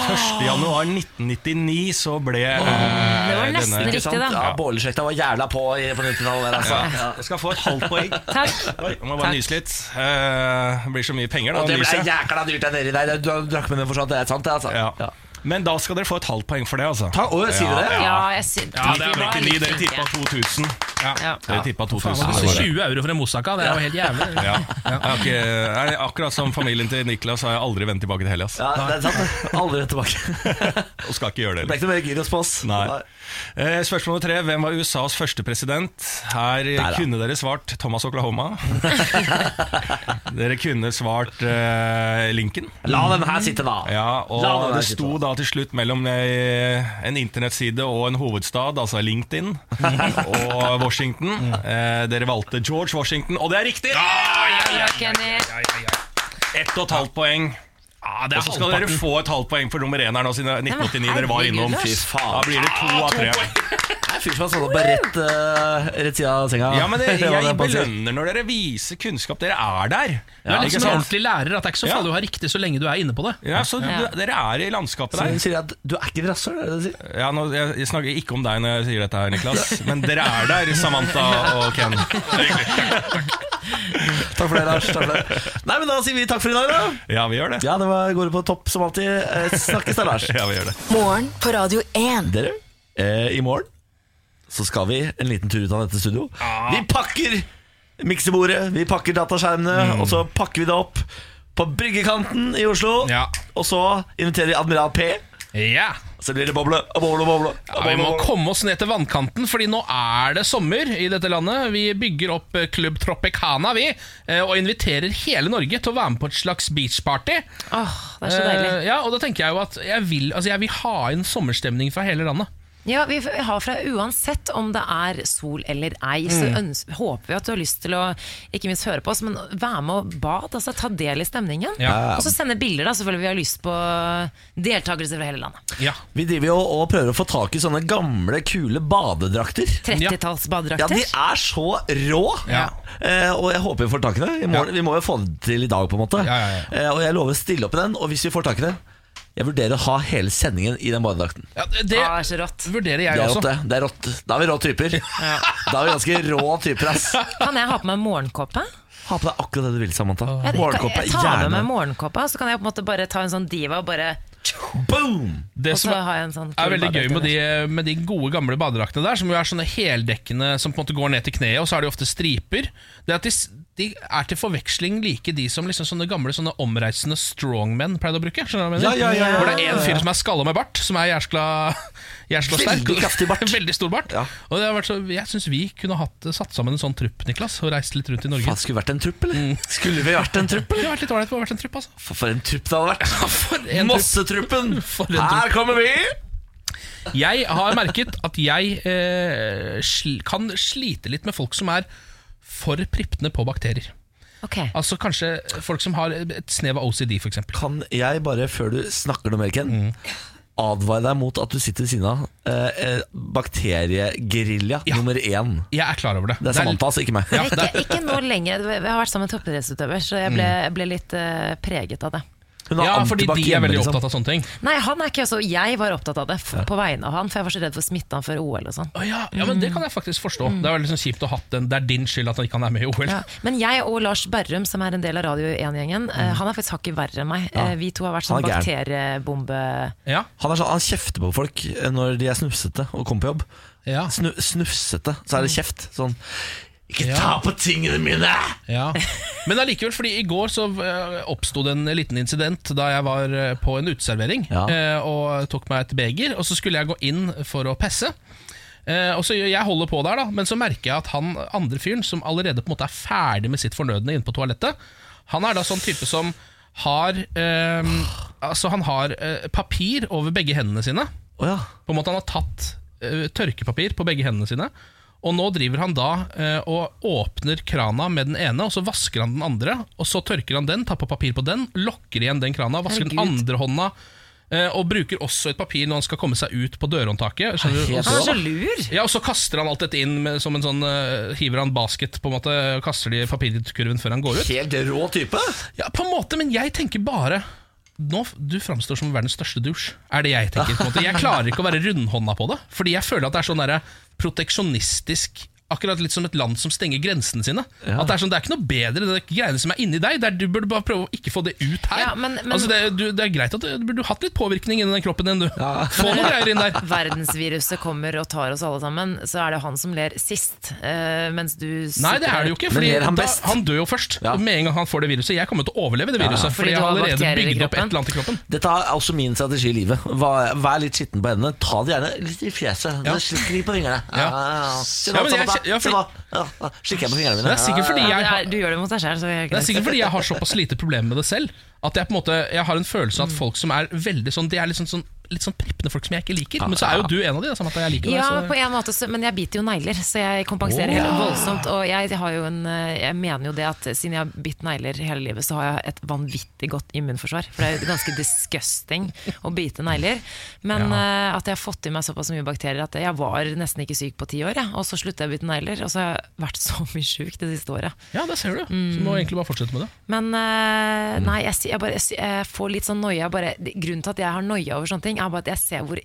S8: 1. januar 1999 så ble eh,
S3: Det var nesten
S8: denne-
S1: Ikke sant?
S3: riktig, da.
S1: Ja, Båleslekta var jævla på i- på 90-tallet der, altså.
S8: Ja, jeg skal få et halvt poeng.
S3: Takk.
S8: Oi, jeg må bare
S3: Takk.
S8: nyse litt. Eh, det blir så mye penger, da.
S1: Og det
S8: å
S1: ble
S8: nyse.
S1: jækla dyrt der nede i deg. Du du drakk med meg for sånt, det er sant, det, altså.
S8: Ja.
S1: Ja.
S8: Men da skal dere få et halvt poeng for det, altså.
S1: Ta, å, sier du det?
S3: Ja, jeg sy
S2: Ja, det er
S3: vi var
S2: veldig
S8: Ni,
S3: litt
S8: dere tippa
S3: flinke.
S8: 2000.
S3: Ja.
S8: Dere tippa 2000.
S2: Faen, det
S8: Det var
S2: koster
S8: det.
S2: 20 euro for en moussaka. Det er jo helt jævlig.
S8: Ja. Jeg har ikke, jeg, akkurat som familien til Niklas har jeg aldri vendt tilbake til Hellas.
S1: Ja, det er sant. det. Aldri rett tilbake. <laughs>
S8: Og skal ikke gjøre
S1: Det
S8: det. liksom.
S1: ble ikke
S8: heller.
S1: noe mer gyros på oss.
S8: Nei. Eh, spørsmål nummer tre. Hvem var USAs første president? Her
S1: da.
S8: kunne dere svart Thomas Oklahoma. <laughs> dere kunne svart eh, Lincoln.
S1: La den her sitte, da.
S8: Ja,
S1: La den
S8: og
S1: her
S8: det
S1: sitte,
S8: sto da til slutt mellom eh, en internettside og en hovedstad, altså LinkedIn,
S1: <laughs>
S8: og Washington. Eh, dere valgte George Washington, og det er riktig!
S3: Ja, Kenny.
S8: Ett og et halvt poeng.
S2: Ja, det
S8: Og
S2: er
S8: så skal dere
S2: halvparten.
S8: få et halvt poeng for nummer én her nå, siden det er 1989 dere var
S3: herregud,
S8: innom.
S3: Lars.
S1: Fy faen.
S8: Da blir det to av tre.
S1: Det er en fyr som har stått opp på sånn rett, eh, rett side av senga.
S8: Ja, men det,
S1: Hva <laughs>
S8: jeg
S1: det man sier.
S8: belønner når dere viser kunnskap. Dere er der.
S2: Du er litt
S8: ikke
S2: som en
S8: sant?
S2: ordentlig lærer. At det er ikke så farlig å ha riktig så lenge du er inne på det.
S8: Ja, så du,
S3: Ja.
S8: Dere er i landskapet
S1: Så hun
S8: der.
S1: sier at du er ikke et rasshøl? er det det du sier?
S8: Ja, nå, jeg, jeg snakker ikke om deg når jeg sier dette, her, Niklas, men dere er der, Samantha og Ken.
S1: Takk for det, Lars. Takk for det. Nei, men Da sier vi takk for i dag, da.
S8: Ja, vi gjør det.
S1: Ja, det var, går på topp som alltid. Eh, Snakkes da, Lars.
S8: <laughs> Ja, vi gjør det.
S4: Morgen på Radio 1.
S1: Dere, eh, i morgen så skal vi en liten tur ut av dette studio.
S8: Ah.
S1: Vi pakker miksebordet, vi pakker dataskjermene,
S8: Mm.
S1: og så pakker vi det opp på bryggekanten i Oslo.
S2: Ja.
S1: Og så inviterer vi Admiral P.
S2: Ja.
S1: Så blir det boble og boble og boble.
S2: Ja, vi må komme oss ned til vannkanten, Fordi nå er det sommer i dette landet. Vi bygger opp eh, Club Tropicana vi, eh, og inviterer hele Norge til å være med på et slags beachparty.
S3: Åh, det er så deilig.
S2: Eh, Ja, og da tenker jeg jo at jeg vil, altså jeg vil ha inn sommerstemning fra hele landet.
S3: Ja, vi f- har fra uansett om det er sol eller ei, så
S2: Mm.
S3: øns håper vi at du har lyst til å ikke minst høre på oss, men være med og bad, altså ta del i stemningen.
S2: Ja.
S3: Og så sende bilder, da, selvfølgelig. Vi har lyst på deltakelse fra hele landet.
S2: Ja,
S1: Vi driver jo og prøver å få tak i sånne gamle, kule badedrakter.
S3: 30-talls
S1: Ja,
S3: badedrakter.
S1: de er så rå!
S2: Ja.
S1: Eh, og jeg håper vi får tak i det. I morgen, Vi må jo få det til i dag, på en måte.
S2: Ja, ja,
S1: Eh, og jeg lover å stille opp i den. Og hvis vi får tak i det, jeg vurderer å ha hele sendingen i den badedrakten.
S2: ja
S3: Ja,
S2: Det
S3: det er Ah, så rått.
S2: vurderer jeg
S1: Det er
S2: også.
S1: rått, det. det er rått. Da er vi rå typer. Da er vi ganske rå typer, ass.
S3: Kan jeg ha på meg morgenkåpe?
S1: Ha på deg akkurat det du vil, Samantha.
S3: Jeg, jeg,
S1: Morgenkåpe,
S3: jeg tar
S1: gjerne.
S3: med meg morgenkåpa, så kan jeg på en måte bare ta en sånn diva og bare
S1: Boom!
S2: Det
S3: Og
S2: som
S3: så har jeg en sånn
S2: er veldig gøy med de,
S3: badedrakt.
S2: med de gode, gamle badedraktene der, som jo er sånne heldekkende som på en måte går ned til kneet, og så er de ofte striper, det er at de s- de er til forveksling like de som liksom sånne gamle sånne omreisende strongmen pleide å bruke. Skjønner du hva jeg mener?
S1: Ja, ja, ja, ja,
S2: Hvor det
S1: ja,
S2: er
S1: ja, ja.
S2: en fyr som er skalla med bart, som er jæskla, jæskla
S1: Veldig
S2: sterk.
S1: kraftig bart.
S2: <laughs> Veldig stor bart.
S1: Ja.
S2: Og det har vært så, jeg syns vi kunne hatt satt sammen en sånn trupp, Niklas, og reist litt rundt i Norge.
S1: Faen, skulle vi vært en trupp, eller?
S2: Mm.
S1: Skulle vi vært en trupp?
S2: Det har vært litt ålreit å ha vært en trupp, altså.
S1: For, for en trupp det hadde vært!
S2: For en trupp.
S1: Mossetruppen!
S2: For en
S1: Her
S2: trupp.
S1: kommer vi!
S2: Jeg har merket at jeg eh, sl kan slite litt med folk som er for pripne på bakterier.
S3: Ok,
S2: Altså Kanskje folk som har et snev av OCD, f.eks.
S1: Kan jeg bare, før du snakker noe mer,
S2: Mm.
S1: Ken, advare deg mot at du sitter ved siden av eh, eh, bakteriegerilja
S2: Ja.
S1: nummer én?
S2: Jeg er klar over det.
S1: Det er Samantha, altså, ikke meg.
S2: Ja,
S3: ikke, ikke nå lenger. Jeg har vært sammen med toppidrettsutøver, så jeg
S2: Mm.
S3: ble, jeg ble litt eh, preget av det.
S1: Hun
S2: ja, fordi
S1: antibac
S2: de er
S1: hjemme,
S2: veldig
S1: liksom.
S2: opptatt av sånne ting.
S3: Nei, han er ikke også Jeg var opptatt av det f på vegne av han, for jeg var så redd for å smitte han før OL og sånn.
S2: Å ja, ja, men Det kan jeg faktisk forstå. Det er veldig sånn kjipt å ha hatt den. Det er din skyld at han ikke er med i OL.
S3: Ja. Men jeg og Lars Berrum, som er en del av Radio 1-gjengen,
S2: Mm.
S3: eh, han er faktisk hakket verre enn meg. Eh, Vi to har vært sånn
S1: Han er
S3: bakteriebombe...
S2: Ja,
S1: Han, er sånn, han kjefter på folk eh, når de er snufsete og kommer på jobb.
S2: ja,
S1: Snu, snufsete, så er det kjeft. Sånn Ikke
S2: Ja.
S1: ta på tingene mine!
S2: ja. Men allikevel, fordi i går så eh, oppsto det en liten incident da jeg var eh, på en uteservering
S1: Ja.
S2: eh, og tok meg et beger. Og så skulle jeg gå inn for å pisse. Eh, og så gjør- Jeg holder på der, da men så merker jeg at han andre fyren, som allerede på en måte er ferdig med sitt fornødne inne på toalettet, han er da sånn type som har eh, Altså Han har eh, papir over begge hendene sine.
S1: Å ja.
S2: På en måte Han har tatt eh, tørkepapir på begge hendene sine. Og nå driver han da eh, og åpner krana med den ene, og så vasker han den andre. Og så tørker han den, tar på papir på den, lokker igjen den krana, vasker den
S3: Herregud.
S2: andre hånda. eh, Og bruker også et papir når han skal komme seg ut på dørhåndtaket. skjønner du?
S1: Helt
S2: Og
S3: Han er
S2: så-
S3: så lur!
S2: Ja, Og så kaster han alt dette inn med, som en sånn eh, Hiver han basket, på en måte, og kaster det i papirkurven før han går ut.
S1: Helt rå type.
S2: Ja, på en måte, men jeg tenker bare nå, f- Du framstår som verdens største dusj. Er det Jeg tenker på en måte Jeg klarer ikke å være rundhånda på det. Fordi jeg føler at det er sånn derre proteksjonistisk Akkurat litt som et land som stenger grensene sine. At Det er sånn, det er ikke noe bedre Det er ikke greiene som er inni deg. Det er, du burde bare prøve å ikke få det ut her.
S3: Ja, men- men-
S2: altså det, er- du, det er greit at du, du burde hatt litt påvirkning inni den kroppen din, du. Få noen greier inn der.
S3: Verdensviruset kommer og tar oss alle sammen, så er det han som ler sist. eh, mens du
S2: Nei, det er det jo ikke. Fordi
S1: Men er han
S2: da,
S1: best?
S2: han dør jo først.
S1: Ja.
S2: Og Med en gang han får det viruset. Jeg kommer til å overleve det viruset.
S3: Fordi
S2: Fordi jeg
S3: du
S2: har
S3: har
S2: allerede
S3: bakterier i
S2: bygd opp et
S3: kroppen.
S2: eller annet i kroppen.
S1: Dette er også min strategi i livet. Vær, vær litt skitten på hendene. Ta det gjerne litt i fjeset.
S2: Ja.
S1: Ja. Skli på fingrene. Ah,
S2: Ja.
S1: Se
S2: Ja,
S1: nå,
S2: men jeg-
S1: Samantha.
S2: ja,
S1: Se
S2: fordi-
S1: nå. Ja, Slikker jeg på fingrene mine.
S2: Det er sikkert fordi
S3: Ja,
S2: jeg
S3: det
S2: har
S3: er, du gjør det mot deg sjøl, så jeg
S2: Det er sikkert fordi jeg har såpass lite problem med det selv. At jeg på en måte Jeg har en følelse av at folk som er veldig sånn De er litt sånn, sånn, litt sånn prippende folk som jeg ikke liker. Men så er jo du en av de. da, Samme at jeg liker deg.
S3: Ja, på
S2: Så.
S3: en måte, så, men jeg biter jo negler, så jeg kompenserer helt voldsomt. Og jeg, har jo en, eh, jeg mener jo det at siden jeg har bitt negler hele livet, så har jeg et vanvittig godt immunforsvar. For det er jo ganske disgusting å bite negler. Men eh, at jeg har fått i meg såpass mye bakterier at jeg var nesten ikke syk på ti år. jeg. Og så sluttet jeg å bite negler, og så har jeg vært så mye sjuk det siste året.
S2: ja, det ser du.
S3: Mm.
S2: Så må egentlig bare fortsette med det.
S3: Men
S2: Mm.
S3: eh, nei, jeg, sy- jeg, bare, jeg, sy- jeg får litt sånn noia. Bare, grunnen til at jeg har noia over sånne ting, er bare at jeg ser hvor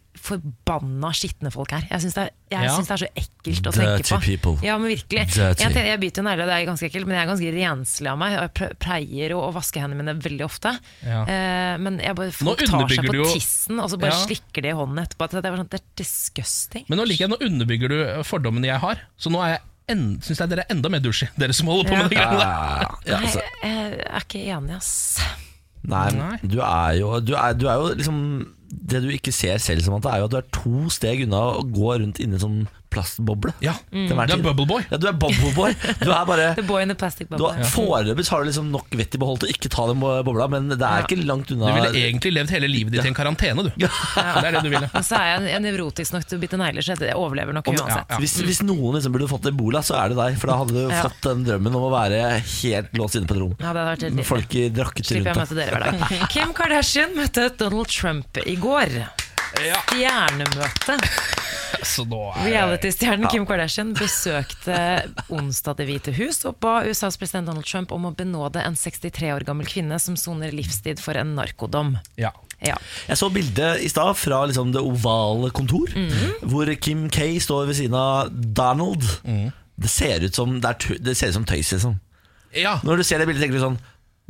S3: forbanna skitne folk er. Jeg syns det, er- jeg
S2: Ja.
S3: synes det er så ekkelt å
S1: Dirty
S3: tenke på.
S1: people.
S3: Ja, men virkelig. Jeg,
S1: Dirty.
S3: tenker, jeg biter jo negler, og det er ganske ekkelt, men jeg er ganske renslig av meg. Og jeg pre- pleier å, å vaske hendene mine veldig ofte.
S2: Ja.
S3: Eh, men jeg bare, folk tar seg
S2: underbygger
S3: på
S2: du jo-
S3: tissen, og så bare
S2: Ja.
S3: slikker de i hånden etterpå. At Det er, bare sånn, det er disgusting.
S2: Men nå liker jeg, nå underbygger du eh, fordommene jeg har. Så nå er jeg en- synes jeg dere er enda mer douche, dere som holder på med de greiene der.
S1: Ja,
S3: Nei,
S1: altså,
S3: jeg, jeg er ikke enig, ass.
S1: nei,
S2: Nei.
S1: men du er jo, du er, du er jo liksom Det du ikke ser selv, Samantha, er jo at du er to steg unna å gå rundt inni en sånn plastboble.
S2: Ja,
S1: Til hver
S2: Du er
S1: tid.
S2: bubble boy.
S1: Ja, du er bubble boy. Du er bare
S3: <laughs> The boy in the plastic
S1: du
S3: Mm. bubble.
S1: har, Foreløpig så har du liksom nok vett i behold til å ikke ta den bo- bobla, men det er ikke langt unna.
S2: Du ville e- egentlig levd hele livet ditt i en karantene, du. Det er det du ville.
S3: Men så er jeg, jeg er nevrotisk nok til å bite negler, så jeg overlever nok uansett.
S2: Ja.
S1: Hvis, hvis noen liksom burde fått ebola, så er det deg. For da hadde du
S3: Ja.
S1: fått den drømmen om å være helt låst inne på et rom.
S3: Ja, det hadde vært helt
S1: Med folk i drakket
S3: Slipper jeg å
S1: rundt
S3: møte dere hver dag. <laughs> Kim Kardashian møtte Donald Trump i går.
S2: Ja,
S3: Stjernemøte.
S2: så nå er det
S3: Reality-stjernen Kim Kardashian besøkte onsdag Det hvite hus og ba USAs president Donald Trump om å benåde en 63 år gammel kvinne som soner livstid for en narkodom.
S2: ja.
S3: Ja.
S1: Jeg så bildet i stad fra liksom det ovale kontor,
S3: Mhm.
S1: hvor Kim K står ved siden av Donald.
S3: Mhm.
S1: Det ser ut som, det er, tø- det ser ut som tøys, liksom.
S2: ja.
S1: Når du ser det bildet, tenker du sånn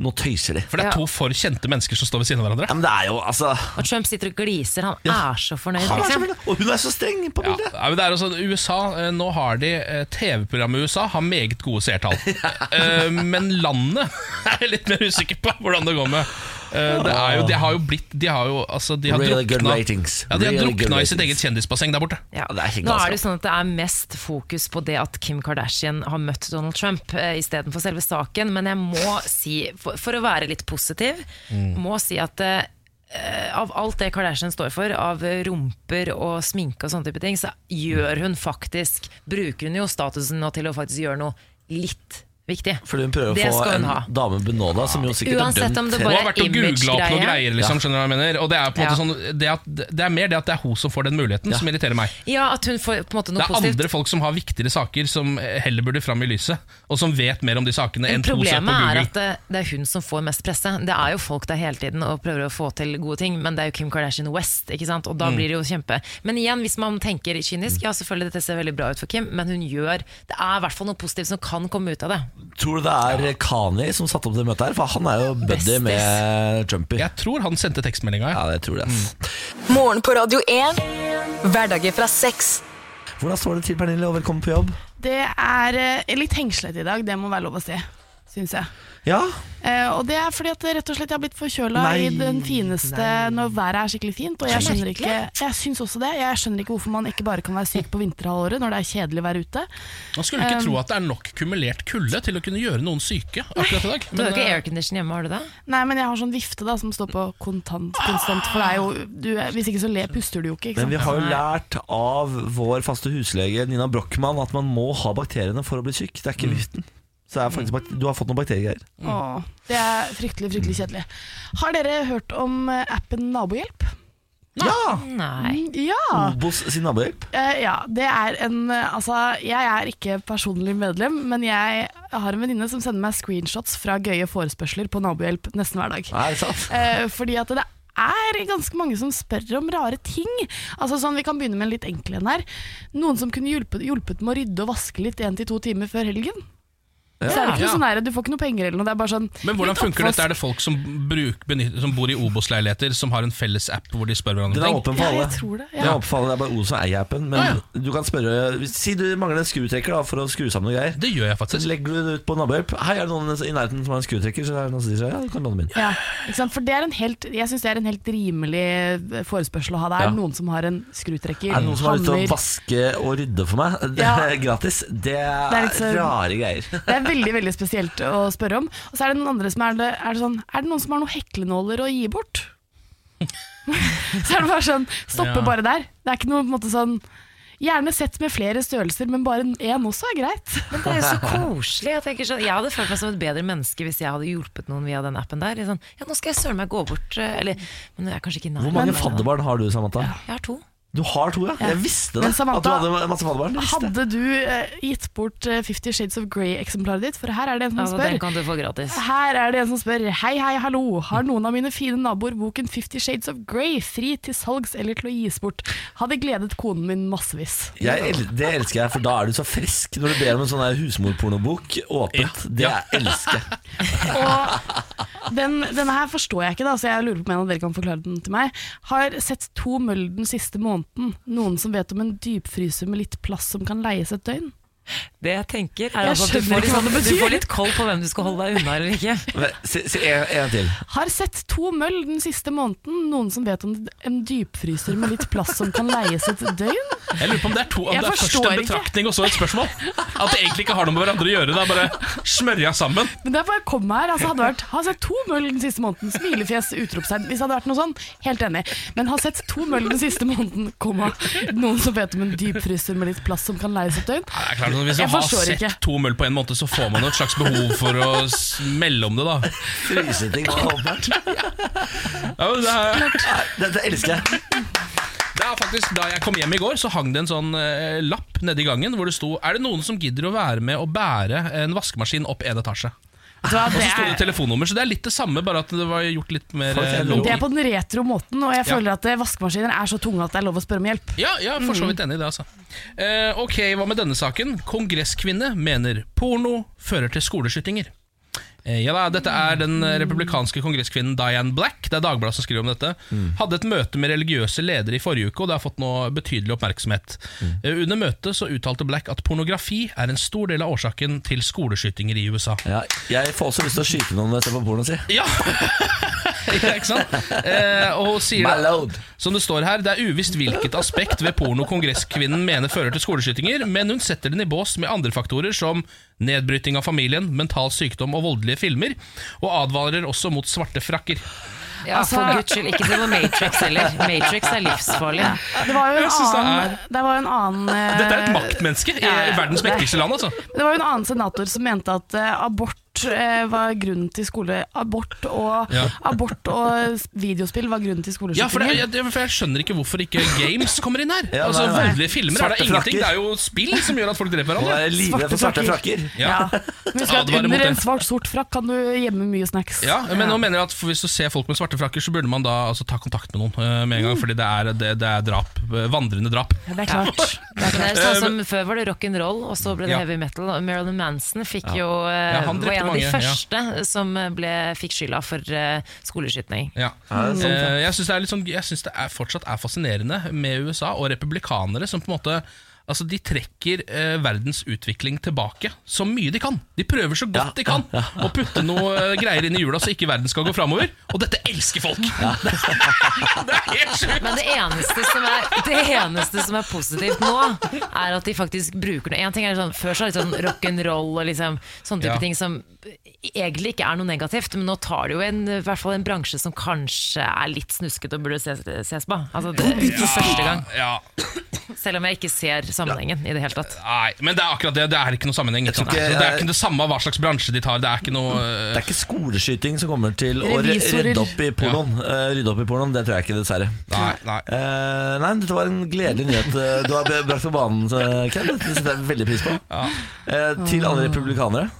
S1: Nå tøyser de.
S2: For det
S3: Ja.
S2: er to for kjente mennesker som står ved siden av hverandre.
S1: Ja, men det er jo, altså
S3: Og Trump sitter og gliser. Han er så fornøyd.
S1: han er så
S3: liksom.
S1: veldig- Og hun er så streng på
S2: Ja,
S1: bildet!
S2: ja, men det er jo sånn, USA, eh, Nå har de eh, TV-programmet i USA har meget gode
S3: <laughs>
S2: seertall. Eh, Men landet <laughs> er jeg litt mer usikker på hvordan det går med. Eh, Det er jo, de har jo blitt De har jo altså, de har
S1: Really good
S2: drukna,
S1: ratings.
S2: ja, de har
S1: Really good
S2: drukna i sitt
S1: ratings.
S2: eget kjendisbasseng der borte.
S3: Ja.
S1: Ja, det er ikke
S3: Nå
S1: galskap.
S3: er det jo sånn at det er mest fokus på det at Kim Kardashian har møtt Donald Trump eh, istedenfor selve saken, men jeg må si, for, for å være litt positiv,
S1: Mm.
S3: må si at eh, eh, av alt det Kardashian står for, av eh, rumper og sminke og sånne type ting, så gjør hun faktisk Bruker hun jo statusen nå til å faktisk gjøre noe litt viktig.
S1: Fordi hun prøver
S3: Det
S1: å få
S3: skal hun
S1: en
S3: ha.
S1: dame benåda, som jo sikkert
S3: Uansett
S1: er
S3: om
S1: dømt
S3: det
S1: til
S2: Hun
S3: bare-
S2: har vært og googla opp noen
S3: image-greie.
S2: greier. Liksom, skjønner du hva jeg mener Og Det er på en måte
S3: Ja.
S2: sånn det, at, det er mer det at det er hun som får den muligheten, som irriterer meg.
S3: Ja, at hun får på en måte
S2: Det
S3: noe
S2: er
S3: positivt.
S2: andre folk som har viktigere saker som eh, heller burde fram i lyset, og som vet mer om de sakene enn
S3: Men
S2: to søk på
S3: Problemet er
S2: Google.
S3: at det, det er hun som får mest presse. Det er jo folk der hele tiden og prøver å få til gode ting, men det er jo Kim Kardashian West, ikke sant? og da blir det jo kjempe. Men igjen, hvis man tenker kynisk, ja selvfølgelig dette ser veldig bra ut for Kim, men hun gjør Det er i hvert fall noe positivt som kan komme ut av det.
S1: Tror du det er Kanye som satte opp det møtet her? For han er jo buddy
S3: Bestis.
S1: med Trumpy.
S2: Jeg tror han sendte tekstmeldinga. Ja.
S1: Ja, det tror jeg. ass.
S3: Mm.
S4: Morgen på Radio 1. Hverdager fra seks.
S1: Hvordan står det til, Pernille, og velkommen på jobb?
S8: Det er eh, litt hengslete i dag, det må være lov å si, syns jeg.
S1: Ja,
S8: Eh, og det er fordi at rett og slett jeg har blitt forkjøla i
S1: Nei,
S8: den fineste når været er skikkelig fint. Og jeg skjønner ikke Jeg syns også det. Jeg skjønner ikke hvorfor man ikke bare kan være syk på vinterhalvåret når det er kjedelig vær ute.
S2: Man skulle ikke tro at det er nok kumulert kulde til å kunne gjøre noen syke akkurat i dag.
S3: Du har
S2: Men,
S3: jo ikke
S2: eh,
S3: aircondition hjemme, har du det?
S8: Nei, men jeg har sånn vifte da som står på kontant konstant, for det er jo du, er- Hvis ikke så le, puster du jo ikke, ikke
S1: men vi
S8: sant.
S1: har jo lært av vår faste huslege Nina Brochmann at man må ha bakteriene for å bli syk. Det er ikke viften. Så det er faktisk, bak- du har fått noen bakteriegreier.
S8: Åh, det er fryktelig, fryktelig kjedelig. Har dere hørt om eh, appen Nabohjelp?
S1: Ja!
S8: <laughs>
S3: Nei.
S8: Ja!
S1: Obos sin nabohjelp.
S8: Eh, ja, det er en eh, Altså, jeg er ikke personlig medlem, men jeg har en venninne som sender meg screenshots fra gøye forespørsler på nabohjelp nesten hver dag.
S1: Er det sant?
S8: Eh, fordi at det er ganske mange som spør om rare ting. Altså sånn, Vi kan begynne med en litt enkel en her. Noen som kunne hjulpet, hjulpet med å rydde og vaske litt én til to timer før helgen. Så er det ikke
S2: Ja.
S8: noe sånn her, Du får ikke noe penger eller noe. Det er bare sånn
S2: men hvordan
S8: litt
S2: funker dette?
S8: oppvask.
S2: Er det folk som, bruk, benytter, som bor i Obos-leiligheter, som har en felles app hvor de spør hverandre
S1: Den er
S2: ting?
S1: åpen for
S8: Ja,
S1: alle.
S8: jeg tror det.
S1: Den
S8: Ja.
S1: er åpen for alle, det er bare O som eier appen. Men du kan spørre hvis- Si du mangler en skrutrekker da, for å skru sammen noen greier.
S2: Det gjør jeg
S1: Så
S2: faktisk.
S1: legger du det ut på nabohjelp. Hei, er det noen i nærheten som har en skrutrekker? Så er det noen som sier sånn, ja, du kan låne min.
S8: Ja, ikke sant? For det er en helt, jeg syns det er en helt rimelig eh, forespørsel å ha. Det
S1: Ja.
S8: er noen som har en skrutrekker,
S1: Er det noen som har lyst til å
S8: hammer.
S1: vaske og rydde for meg? <laughs> Det
S8: Ja.
S1: er gratis. Det er,
S8: Det er litt så-
S1: rare greier.
S8: <laughs> Det er veldig veldig spesielt å spørre om. Og så er det den andre som er det, er det sånn Er det noen som har noen heklenåler å gi bort? <laughs> så er det bare sånn Stoppe
S2: Ja.
S8: bare der. Det er ikke noe på en måte sånn Gjerne sett med flere størrelser, men bare én også er greit.
S3: Men det er jo så koselig. Jeg, tenker sånn, jeg hadde følt meg som et bedre menneske hvis jeg hadde hjulpet noen via den appen der. Sånn, ja, nå skal jeg søren meg gå bort, eh, eller Men jeg er kanskje ikke nær.
S1: Hvor mange
S3: men-
S1: fadderbarn har du, Samantha?
S3: Jeg har to.
S1: Du har to, ja? Jeg visste <laughs> det!
S8: Men Samantha,
S1: at du hadde masse fadderbarn. Jeg visste det.
S8: Hadde du eh, gitt bort eh, Fifty Shades of Grey-eksemplaret ditt? For her er det en som
S3: Altså,
S8: spør.
S3: den kan du få gratis.
S8: Her er det en som spør Hei, hei, hallo. Har noen av mine fine naboer boken Fifty Shades of Grey fri til salgs eller til å gis bort? Hadde gledet konen min massevis.
S1: Jeg, el- det elsker jeg, for da er du så frisk når du ber om en sånn her husmorpornobok åpent. Det
S2: Ja.
S1: jeg elsker jeg.
S8: Og den, denne her forstår jeg ikke, da, så jeg lurer på om en av dere kan forklare den til meg. Har sett to møll den siste måneden. Noen som vet om en dypfryser med litt plass som kan leies et døgn?
S3: Det jeg tenker er
S8: Jeg
S3: altså at du
S8: skjønner
S3: får,
S8: ikke hva det
S3: litt, du
S8: betyr.
S3: får litt koll på hvem du skal holde deg unna eller ikke.
S8: <laughs>
S1: Men Se, se en, en til.
S8: Har sett to møll den siste måneden. Noen som vet om en dypfryser med litt plass som kan leies et døgn?
S2: Jeg lurer på om det er, to, om
S8: Jeg
S2: det er først
S8: forstår
S2: en
S8: ikke.
S2: betraktning og så et spørsmål. At det egentlig ikke har noe med hverandre å gjøre. Det er bare smørja sammen.
S8: Men det er bare å komme her. Altså, hadde vært, har sett to møll den siste måneden. Smilefjes, utropstegn. Hvis det hadde vært noe sånn, helt enig. Men har sett to møll den siste måneden, komma. Noen som vet om en dypfryser med litt plass som kan leies et døgn.
S2: Ja, det er klart, at hvis
S8: Jeg
S2: man har
S8: forstår
S2: sett
S8: ikke.
S2: to møll på en måned, så får man jo et slags behov for å smelle om det, da.
S1: Fryseting på åpent.
S2: Ja, men det, er,
S1: Dette elsker jeg.
S2: det er faktisk Da jeg kom hjem i går, så hang det en sånn eh, lapp nedi gangen hvor det sto Er det noen som gidder å være med å bære en vaskemaskin opp en etasje?
S8: Så
S2: Og
S8: det
S2: så sto det
S8: er,
S2: telefonnummer, så det er litt det samme, bare at det var gjort litt mer
S1: Folk er
S2: eh,
S1: low-key.
S8: det er på den retro måten, og jeg
S2: Ja.
S8: føler at eh, vaskemaskiner er så tunge at det er lov å spørre om hjelp.
S2: Ja, jeg er for så vidt enig i det, altså. Eh, ok, hva med denne saken? Kongresskvinne mener porno fører til skoleskytinger. Eh, Ja da, Dette er den republikanske kongresskvinnen Diane Black Det er Dagbladet som skriver om dette Hadde et møte med religiøse ledere i forrige uke Og det har fått noe betydelig oppmerksomhet Eh, Under møtet så uttalte Black at pornografi Er en stor del av årsaken til skoleskytinger i USA
S1: Ja, jeg får også lyst til å skyte noen når jeg ser på porno, si.
S2: Ja, <laughs> ja ikke sant? Eh, og hun sier
S1: My load.
S2: Som det står her, det er uvisst hvilket aspekt ved porno kongresskvinnen mener fører til skoleskytinger, men hun setter den i bås med andre faktorer som nedbryting av familien, mental sykdom og voldelige filmer, og advarer også mot svarte frakker.
S3: Ja, Altså, for guds skyld, ikke se på Matrix heller. Matrix er livsfarlig.
S8: Det var jo en
S2: Jeg synes det
S8: annen, det var jo en annen eh,
S2: Dette er et maktmenneske i
S8: ja, ja.
S2: verdens mektigste land, altså.
S8: Det var jo en annen senator som mente at eh, abort eh, var grunnen til skole... Abort og,
S2: Ja.
S8: abort og s- videospill var grunnen
S2: Ja,
S8: til
S2: for, det,
S8: skoleskytinger.
S2: jeg, jeg- for jeg skjønner ikke hvorfor ikke games kommer inn her.
S1: Ja,
S2: altså
S1: nei, nei.
S2: Voldelige filmer er
S1: Svarte
S2: da ingenting.
S1: frakker.
S2: Det er jo spill som gjør at folk dreper
S1: Nå er
S2: hverandre.
S1: jeg livredd for svarte frakker.
S2: <laughs> Ja.
S8: Men Husk at
S2: Advarer mot
S8: under
S2: det.
S8: en svart sort frakk kan du gjemme mye snacks.
S2: Ja, men nå mener jeg at for Hvis du ser folk med svarte frakker, så burde man da altså, ta kontakt med noen eh, med en
S8: Mm.
S2: gang. Fordi det er, det, det er drap. eh, Vandrende drap.
S8: Ja, det er klart.
S3: Det er sånn som Før var det rock'n'roll, og så ble
S2: Eh,
S3: det
S2: Ja.
S3: heavy metal. Og Marilyn Manson fikk jo,
S2: Ja,
S3: eh,
S2: han drepte
S3: var en av de
S2: mange, ja.
S3: første som eh, ble, fikk skylda for eh, skoleskyting.
S2: Ja. Eh, jeg syns det, er litt sånn, jeg synes det er, fortsatt er fascinerende med USA og republikanere som på en måte Altså, De trekker eh, verdens utvikling tilbake så mye de kan. De prøver så godt de kan å putte noe eh, greier inn i hjula så ikke verden skal gå <laughs> framover. Og dette elsker folk! det er helt sjukt!
S3: Men det eneste, som er, det eneste som er positivt nå, er at de faktisk bruker det. En ting er sånn, Før så var det sånn rock'n'roll og liksom, sånne type
S2: Ja.
S3: ting som egentlig ikke er noe negativt, men nå tar det jo en, i hvert fall en bransje som kanskje er litt snuskete og burde ses, ses på. Altså, det, for første gang.
S2: Ja,
S3: Selv om jeg ikke ser sammenhengen i det hele tatt.
S2: Nei, men det er akkurat det. Det er ikke noe sammenheng. Ikke
S1: tror
S2: sant?
S1: ikke-
S2: Altså, det er ikke eh, det samme hva slags bransje de tar. Det er ikke noe
S1: Det er ikke skoleskyting som kommer til å re-
S8: Revisorer.
S1: rydde opp i pornoen. Eh, rydde opp i pornoen, Det tror jeg ikke, dessverre.
S2: Nei, nei.
S1: Eh, nei, dette var en gledelig nyhet eh, du har be- brakt på banen, eh, Ken. Det setter jeg veldig pris på. Eh, til
S8: Ah.
S1: alle republikanere.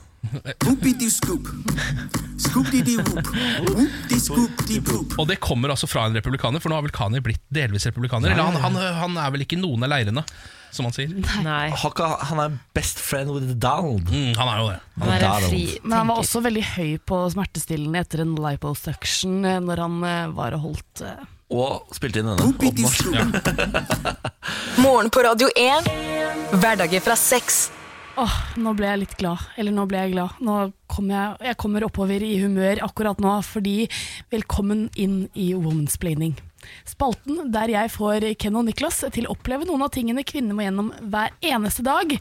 S2: Og det kommer altså fra en republikaner, for nå har vel Kani blitt delvis republikaner. Eller han, han, han er vel ikke i noen av leirene, som han sier.
S3: Nei.
S1: Hakka, han er best friend with Donald.
S2: Mm, han er jo det.
S3: Han er en fri
S8: Men han var
S3: tenker.
S8: også veldig høy på smertestillende etter en liposuction eh, når han eh, var og holdt eh,
S1: Og spilte inn denne. åpenbart.
S4: Morgen på Radio 1. Hverdager fra seks.
S8: Åh, nå ble jeg litt glad. Eller nå ble jeg glad. Nå kom jeg, jeg kommer oppover i humør akkurat nå, fordi velkommen inn i Womansplaining. Spalten der jeg får Ken og Niklas til å oppleve noen av tingene kvinner må gjennom hver eneste dag.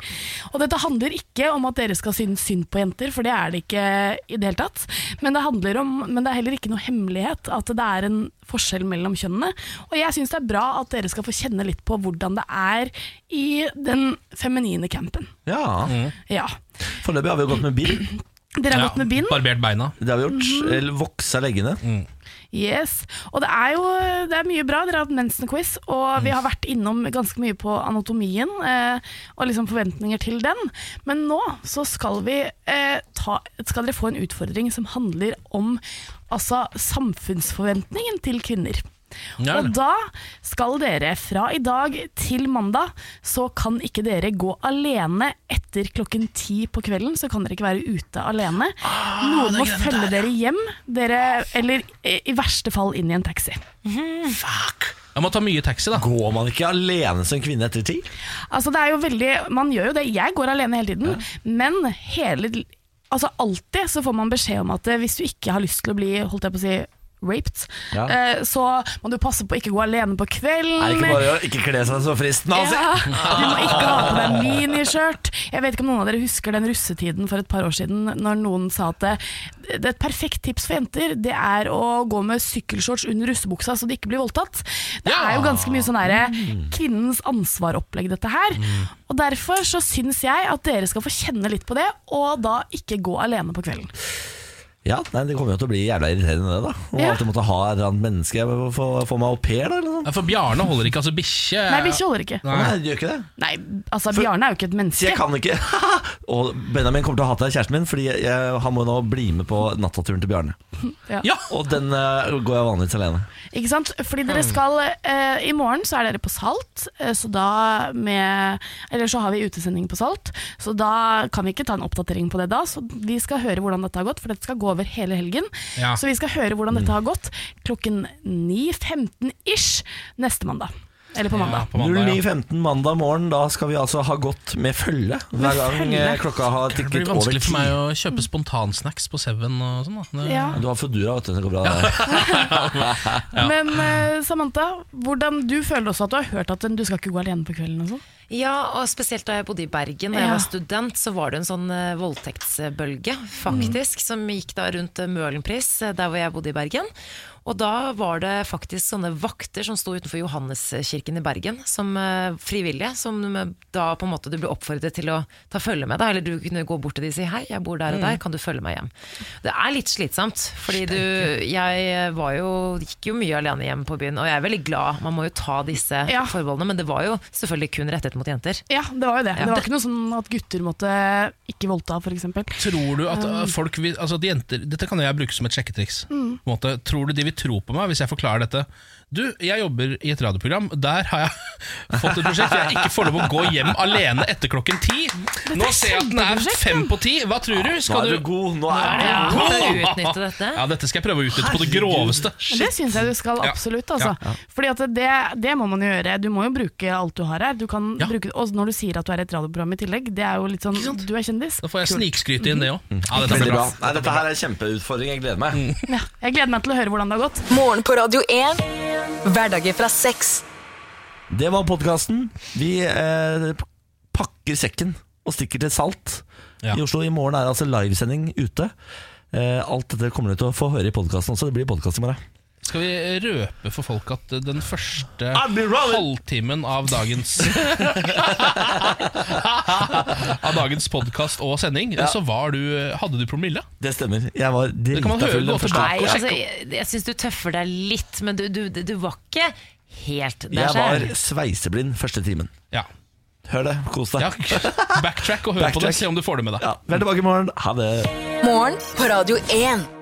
S8: Og dette handler ikke om at dere skal synes synd på jenter, for det er det ikke i det hele tatt. Men det, handler om, men det er heller ikke noe hemmelighet at det er en forskjell mellom kjønnene. Og jeg syns det er bra at dere skal få kjenne litt på hvordan det er i den feminine campen.
S1: Ja,
S8: Ja.
S1: Foreløpig har vi jo gått med bil.
S8: Dere har gått med bind.
S2: Barbert beina.
S1: Det har vi
S8: Mm.
S1: gjort. Eller voksa leggene.
S8: Yes. Og det er jo det er mye bra. Dere har hatt mensen-quiz, og vi har vært innom ganske mye på anatomien eh, og liksom forventninger til den. Men nå så skal vi eh, ta Skal dere få en utfordring som handler om altså samfunnsforventningen til kvinner.
S2: Ja,
S8: og
S2: eller?
S8: da skal dere fra i dag til mandag, så kan ikke dere gå alene etter klokken ti på kvelden. Så kan dere ikke være ute alene.
S1: Ah,
S8: Noen må følge dere hjem, dere, eller eh, i verste fall inn i en taxi.
S2: Jeg må ta mye taxi, da.
S1: Går man ikke alene som kvinne etter ti?
S8: Altså, det er jo veldig Man gjør jo det. Jeg går alene hele tiden, men hele Altså alltid så får man beskjed om at eh, hvis du ikke har lyst til å bli, holdt jeg på å si, raped,
S1: Ja.
S8: eh, så må du passe på å ikke gå alene på kvelden.
S1: Er det ikke bare å ikke kle seg så fristende? Altså?
S8: Mm.
S1: <laughs>
S8: Ja, du må ikke ha på deg miniskjørt. Jeg vet ikke om noen av dere husker den russetiden for et par år siden, når noen sa at det, det er et perfekt tips for jenter, det er å gå med sykkelshorts under russebuksa så de ikke blir voldtatt. Det
S2: Ja.
S8: er jo ganske mye sånn derre kvinnens ansvar-opplegg, dette her. Og derfor så syns jeg at dere skal få kjenne litt på det, og da ikke gå alene på kvelden.
S1: Ja, nei, Det kommer jo til å bli jævla irriterende, det. da Å
S8: Ja.
S1: alltid måtte ha et eller annet menneske. Jeg må få, få meg au pair, da? Eller noe. sånt.
S2: Ja, For Bjarne holder ikke, altså bikkje
S8: Nei, bikkje holder ikke.
S1: Nei, det gjør ikke det.
S8: Nei, altså Bjarne er jo ikke
S1: Så
S8: et
S1: jeg
S2: <laughs>
S8: menneske.
S1: kan ikke. Og Benjamin kommer til å hate kjæresten min, Fordi jeg, han må nå bli med på nattaturen til Bjarne.
S8: Ja.
S1: Og den eh, går jeg vanligvis alene.
S8: Ikke sant? Fordi dere skal eh, I morgen så er dere på Salt, eh, så da med Eller så har vi utesending på Salt, så da kan vi ikke ta en oppdatering på det da. Så vi skal høre hvordan dette har gått, for dette skal gå over hele helgen.
S2: Ja.
S8: Så vi skal høre hvordan dette har gått klokken 9.15 ish neste mandag. Eller på mandag.
S1: 09.15 mandag morgen, da skal vi altså ha gått med følge hver gang eh, klokka har
S2: Det blir
S1: tikket over
S2: vanskelig
S1: ti.
S2: for meg å kjøpe spontansnacks på Seven og sånn. da Det-
S8: Ja.
S1: Du har Foodora, vet du. Det går bra. det.
S8: Men eh, Samantha, hvordan du føler også at du har hørt at du skal ikke gå alene på kvelden og sånn?
S3: Ja, og spesielt da jeg bodde i Bergen, da jeg
S8: Ja.
S3: var student, så var det en sånn eh, voldtektsbølge, faktisk, som gikk da rundt eh, Møhlenpris, eh, der hvor jeg bodde i Bergen. Og da var det faktisk sånne vakter som sto utenfor Johanneskirken i Bergen, som eh, frivillige, som eh, da på en måte du ble oppfordret til å ta følge med deg, eller du kunne gå bort til de og si hei, jeg bor der og der,
S10: Mm.
S3: kan du følge meg hjem? Det er litt slitsomt, fordi du, jeg var jo, gikk jo mye alene hjem på byen, og jeg er veldig glad, man må jo ta disse forbeholdene, men det var jo selvfølgelig kun rettet mot jenter.
S8: Ja, det var jo det.
S3: Ja.
S8: Det var ikke noe sånn at gutter måtte ikke voldta, f.eks.
S2: Tror du at eh, folk vil, altså at jenter, Dette kan jeg bruke som et sjekketriks.
S8: Um. Mm.
S2: På en måte, tror du de vil tro på meg hvis jeg forklarer dette? Du, jeg jobber i et radioprogram. Der har jeg <laughs> fått et prosjekt. Jeg ikke får lov å gå hjem alene etter klokken ti. Nå ser jeg at den er fem på ti. Hva tror du?
S1: Nå er du god, nå er du
S2: Ja.
S1: god.
S8: Skal
S2: <laughs>
S8: du utnytte dette?
S2: Ja, dette skal jeg prøve å utnytte på det groveste.
S8: Det syns jeg du skal
S2: Ja.
S8: absolutt. Altså.
S2: Ja.
S8: Fordi at det, det må man jo gjøre. Du må jo bruke alt du har her. Du kan bruke, og når du sier at du er i et radioprogram i tillegg, det er jo litt sånn Du er kjendis.
S2: Da får jeg snikskryte inn det òg.
S8: Mhm.
S2: Ja, dette
S1: Veldig
S2: blir
S1: bra.
S2: bra.
S1: Nei, dette her er en kjempeutfordring. Jeg gleder meg.
S8: Ja, jeg gleder meg til å høre hvordan det har gått.
S4: Morgen på Radio 1. Hverdager fra seks.
S1: Det var podkasten. Vi eh, pakker sekken og stikker til Salt i Oslo. I morgen er det altså livesending ute. Eh, alt dette kommer du til å få høre i podkasten også. Det blir podkast i morgen.
S2: Skal vi røpe for folk at den første
S1: I'll be rolling.
S2: halvtimen av
S1: <laughs>
S2: dagens Av dagens podkast og sending,
S1: Ja.
S2: så var du, hadde du promille?
S1: Det stemmer. Jeg var
S2: Det kan man
S1: drita
S2: høre,
S1: full
S2: gå
S1: den første.
S2: tilbake
S3: Nei, altså, jeg, jeg syns du tøffer deg litt, men du, du, du var ikke helt der
S1: Jeg var
S3: selv.
S1: sveiseblind første timen. Hør det. Kos deg.
S2: Backtrack og hør på det,
S1: Backtrack.
S2: se om du får det med deg.
S1: Vi er tilbake i morgen. Ha det.
S4: Morgen på Radio 1.